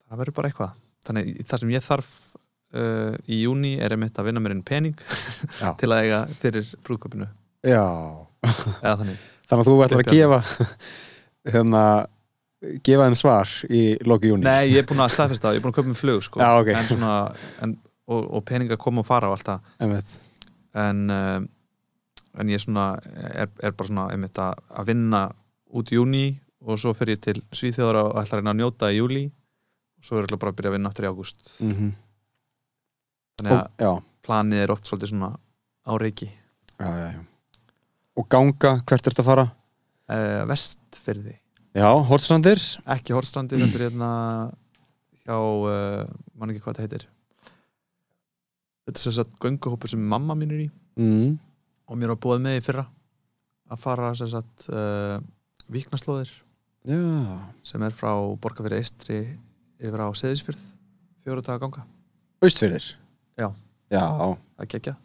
Speaker 2: það verður bara eitthvað þannig að það sem ég þarf uh, í júni er einmitt að vinna mér inn pening
Speaker 1: Já.
Speaker 2: til að eiga fyrir brúðköpinu
Speaker 1: já
Speaker 2: eða þannig
Speaker 1: Þannig að þú ætlar að
Speaker 2: Bjarni.
Speaker 1: gefa hérna, gefa þeim svar í loki júni
Speaker 2: Nei, ég er búin að staðfesta það, ég er búin að köpa mér flug sko.
Speaker 1: Já, ok.
Speaker 2: en svona, en, og, og peninga koma og fara og allt það
Speaker 1: Einmitt.
Speaker 2: en, um, en ég svona er, er bara svona einmitt að, að vinna út í júni og svo fer ég til Svíþjóðara og ætla að reyna að njóta í júli og svo er ég bara að byrja að vinna aftur í ágúst
Speaker 1: Mm -hmm.
Speaker 2: þannig að
Speaker 1: Já,
Speaker 2: planið er oft svolítið svona á reiki
Speaker 1: já, já, já Og ganga, hvert ertu að fara?
Speaker 2: uh, vestfyrði,
Speaker 1: Já, Hortsandir
Speaker 2: ekki Horstrandi þetta er hérna hjá uh, mann ekki hvað þetta heitir þetta er sem sagt gönguhópur sem mamma mín er í
Speaker 1: mm.
Speaker 2: og mér var búið með í fyrra að fara sem sagt uh, viknaslóðir
Speaker 1: Já,
Speaker 2: sem er frá Borgarfyrir Eistri yfir á Seðisfjörð fjóru daga ganga,
Speaker 1: Austfyrir
Speaker 2: Já.
Speaker 1: Já,
Speaker 2: það gekja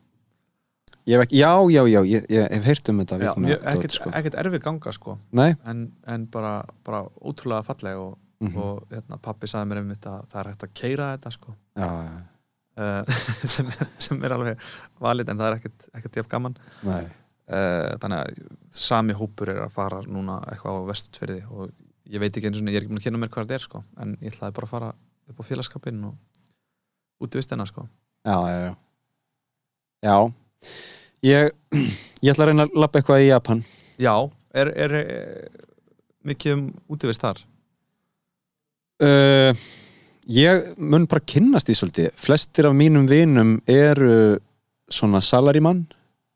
Speaker 1: ég hef ekki, já, já, já, ég, ég hef heyrt um þetta vikuna dót,
Speaker 2: ekkert,
Speaker 1: sko.
Speaker 2: ekkert erfið ganga sko
Speaker 1: Nei
Speaker 2: en, en bara, bara ótrúlega falleg og,
Speaker 1: mm -hmm.
Speaker 2: og hérna, pappi saði mér einmitt að það er hægt að keira þetta sko
Speaker 1: Já, já,
Speaker 2: uh, sem, er- sem er alveg valið en það er ekkert, ekkert jafn gaman
Speaker 1: nei
Speaker 2: uh, þannig að sami hópur er að fara núna eitthvað á vestfyrði og ég veit ekki eins og ég er ekki búin að kynna mér hvað þetta er sko, en ég ætlaði bara að fara upp á félagskapin og út í vistina sko.
Speaker 1: Já, já, já. Já, ég, ég ætla að reyna að lappa eitthvað í Japan.
Speaker 2: Já, er, er, er mikið um útivist þar
Speaker 1: Uh, ég mun bara kynnast því svolítið. Flestir af mínum vinum eru svona salarimann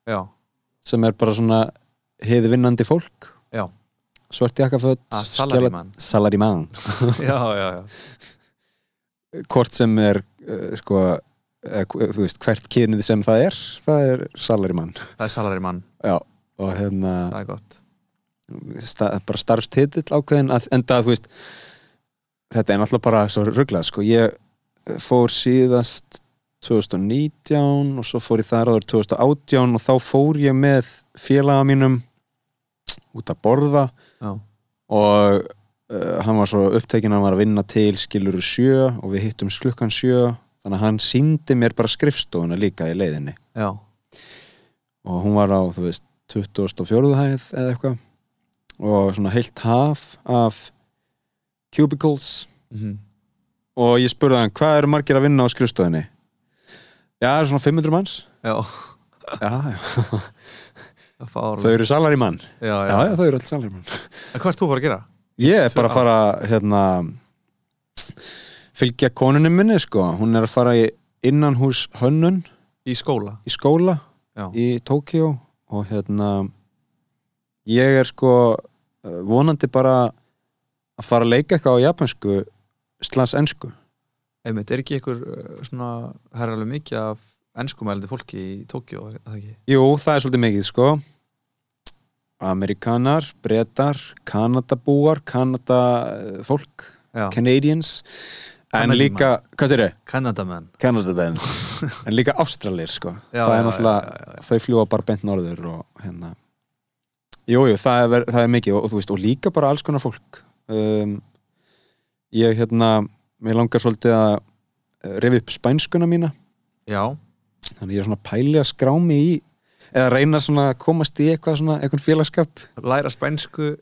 Speaker 2: Já,
Speaker 1: sem er bara svona heiðvinnandi fólk.
Speaker 2: Já. Ah,
Speaker 1: Svört jakkaföt.
Speaker 2: að salarímann
Speaker 1: Salarimann.
Speaker 2: Já, já, já
Speaker 1: Hvort sem er, uh, sko, uh, þú veist, hvert kynið sem það er, það er salarimann.
Speaker 2: Það er salarímann,
Speaker 1: Já, og hérna...
Speaker 2: það er gott
Speaker 1: sta, bara starfstitill ákveðin að, enda þú veist þetta er náttúrulega bara svo rugglað sko. ég fór síðast 2019 og svo fór ég þar áður 2018 og þá fór ég með félaga mínum út að borða
Speaker 2: Já,
Speaker 1: og uh, hann var svo upptekinn að hann var að vinna til skilur sjö og við hittum slukkan sjö þannig að hann síndi mér bara skrifstofuna líka í leiðinni
Speaker 2: já,
Speaker 1: og hún var á, þú veist, 24. hæð eða eitthvað og svona heilt haf af cubicles
Speaker 2: Mhm.
Speaker 1: og ég spurði hann, hvað eru margir að vinna á skrifstöðinni? Já, það eru svona 500 manns
Speaker 2: já
Speaker 1: Já, já,
Speaker 2: Það fár
Speaker 1: þau eru salarimann Já,
Speaker 2: já, já.
Speaker 1: já, þau eru alls salarimann
Speaker 2: En Hvað ert þú að fara að gera?
Speaker 1: Ég er
Speaker 2: Svo-
Speaker 1: bara að fara, hérna fylgja konunni minni, sko hún er að fara í innanhús hönnun
Speaker 2: Í skóla
Speaker 1: í skóla
Speaker 2: Já,
Speaker 1: í Tókíó og hérna ég er sko eh, vonandi bara að fara að leika eitthvað á japansku slags ensku
Speaker 2: einmitt, er ekki ykkur uh, svona, það er alveg mikið af ennskumælandi fólki í Tókjó, er það ekki?
Speaker 1: Jú, það er svolítið mikið sko Amerikanar, Bretar Kanadabúar, Kanada eh, fólk,
Speaker 2: Já.
Speaker 1: Canadians en
Speaker 2: Kanadíman.
Speaker 1: líka, hvað sér þau?
Speaker 2: Kanadamenn
Speaker 1: Kanadabenn en líka Ástralir sko
Speaker 2: Já,
Speaker 1: það
Speaker 2: já,
Speaker 1: er náttúrulega,
Speaker 2: já, já,
Speaker 1: þau fljúa bara bent norður og hérna jújú, jú, það, er ver- það er mikið og, og þú veist, og líka bara alls konar fólk um, ég hérna mér langar svolítið að eh, rifja upp spænskuna mína
Speaker 2: já,
Speaker 1: þannig ég er svona að pæli að skrá mig í eða reyna svona að komast í eitthvað svona eitthvað félagskap
Speaker 2: læra spænsku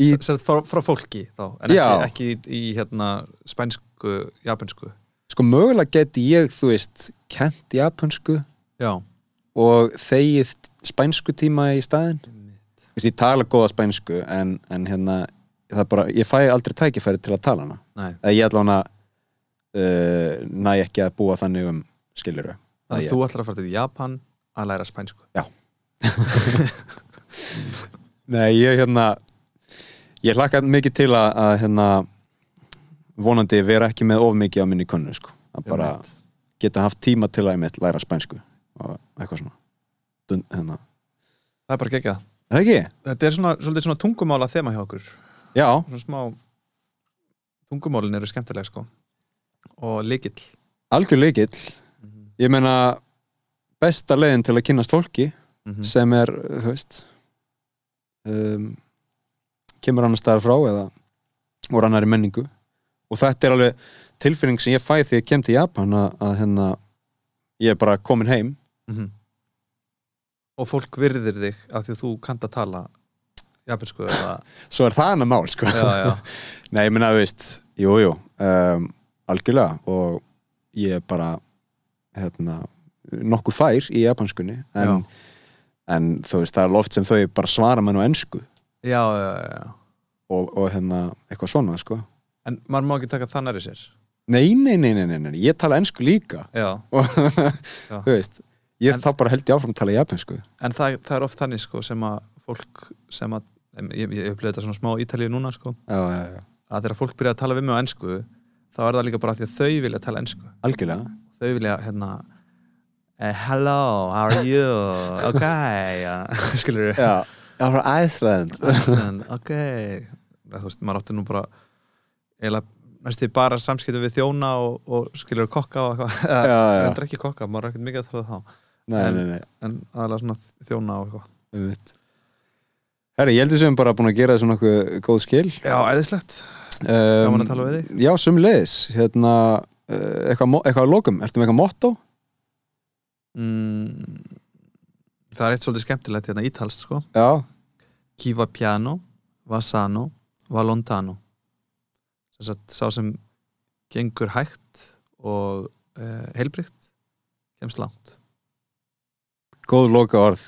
Speaker 1: Í-
Speaker 2: í... frá, frá fólki þá en
Speaker 1: Já.
Speaker 2: ekki, ekki í, í hérna spænsku, japansku
Speaker 1: sko mögulega geti ég, þú veist kent japansku
Speaker 2: já,
Speaker 1: og þegið spænsku tíma í staðinn Þú veist, ég tala góða spænsku en, en hérna, það er bara, ég fæ aldrei tækifæri til að tala hana
Speaker 2: Nei,
Speaker 1: eða ég ætla hana uh, næ ekki að búa þannig um skiluru
Speaker 2: þannig að þú ætlar að fara til Japan að læra spænsku
Speaker 1: Nei, ég hérna ég hlakka mikið til að, að hérna, vonandi vera ekki með of mikið á minni kunnu sko. að bara
Speaker 2: Einmitt.
Speaker 1: geta haft tíma til að einmitt læra spænsku og eitthvað svona Dun, hérna.
Speaker 2: það er bara gegja
Speaker 1: Er Það ekki?
Speaker 2: þetta er svona, svolítið svona tungumála þema hjá okkur
Speaker 1: Já,
Speaker 2: svona smá tungumálin eru skemmtileg sko og líkill
Speaker 1: algjör leikill ég meina besta leiðin til að kynnast fólki
Speaker 2: Mhm.
Speaker 1: sem er, þú veist um, kemur annars staðar frá eða úr annari menningu og þetta er alveg tilfinning sem ég fæ þegar ég kem til Japan að, að hérna ég er bara komin heim
Speaker 2: Mhm. og fólk virðir þig af því að þú kannt að tala japansku eða
Speaker 1: svo er það annar mál sko
Speaker 2: já, já.
Speaker 1: nei, ég meina, þú veist, jú, jú um, algjörlega og ég er bara hérna, nokkuð fær í japanskunni en, en þú veist, það er loft sem þau bara svara mann á ensku
Speaker 2: já, já, já, já.
Speaker 1: og, og hérna, eitthvað svona sko
Speaker 2: en maður má ekki taka það nærri sér
Speaker 1: Nei, nei, nei, nei, nei, nei, ég tala ensku líka
Speaker 2: já.
Speaker 1: og þú veist ég
Speaker 2: En-
Speaker 1: þá bara held ég áfram að tala japansku
Speaker 2: en það, það er oft þannig sko sem að fólk sem að em, ég, ég upplýði þetta svona smá í Ítalíu núna sko
Speaker 1: já, já, já,
Speaker 2: að þegar fólk byrja að tala við mig á ensku þá er það líka bara af því að þau vilja tala ensku
Speaker 1: algjörlega
Speaker 2: þau vilja hérna eh, hello, how are you ok, já, skilur við
Speaker 1: Já, já frá Iceland
Speaker 2: ok Það, þú veist, maður átti nú bara eiginlega næstu því bara samskiptum við þjóna og, og skilur við kokka og eitthvað
Speaker 1: Já,
Speaker 2: eða
Speaker 1: já,
Speaker 2: reyndar ekki kokka, maður er ekkert mikið að tala við þá
Speaker 1: nei, nei, nei,
Speaker 2: en aðalega svona þjóna og eitthvað
Speaker 1: um veit Herri, ég held við sem bara búin að gera þessu nokkuð góð skil
Speaker 2: já, eðislegt,
Speaker 1: Gaman
Speaker 2: gaman að tala við þig
Speaker 1: Já, sömulegis, hérna eh, eitthvað, mo- eitthvað að lokum, ertu með eitthvað motto?
Speaker 2: mm, það er eitt svolítið skemmtilegt hérna ítalst sko
Speaker 1: Já,
Speaker 2: chi va piano va sano va lontano þess að sá sem gengur hægt og uh, heilbrygt kemst langt
Speaker 1: góð loka orð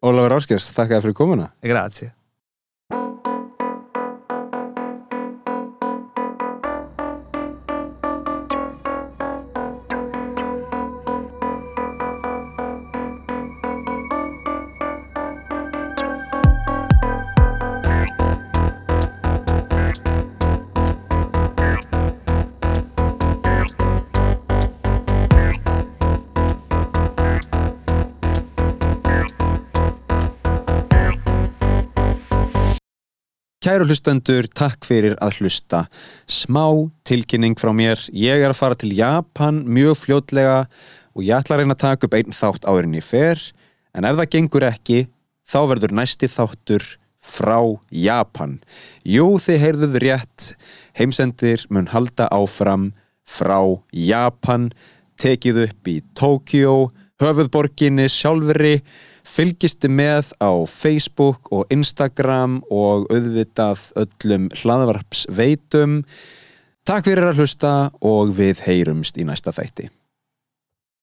Speaker 1: Ólafur Áskers, þakka þér fyrir komuna
Speaker 2: Grazie
Speaker 1: Kæru hlustendur, takk fyrir að hlusta. Smá tilkynning frá mér. Ég er að fara til Japan mjög fljótlega og ég ætla að reyna að taka upp einn þátt árinni fer. En ef það gengur ekki, þá verður næsti þáttur frá Japan. Jú, þið heyrðuð rétt. Heimsendir mun halda áfram frá Japan, tekið upp í Tókjó, höfuðborginni sjálfri fylgistu með á Facebook og Instagram og auðvitað öllum hlaðvarpsveitum Takk fyrir að hlusta og við heyrumst í næsta þætti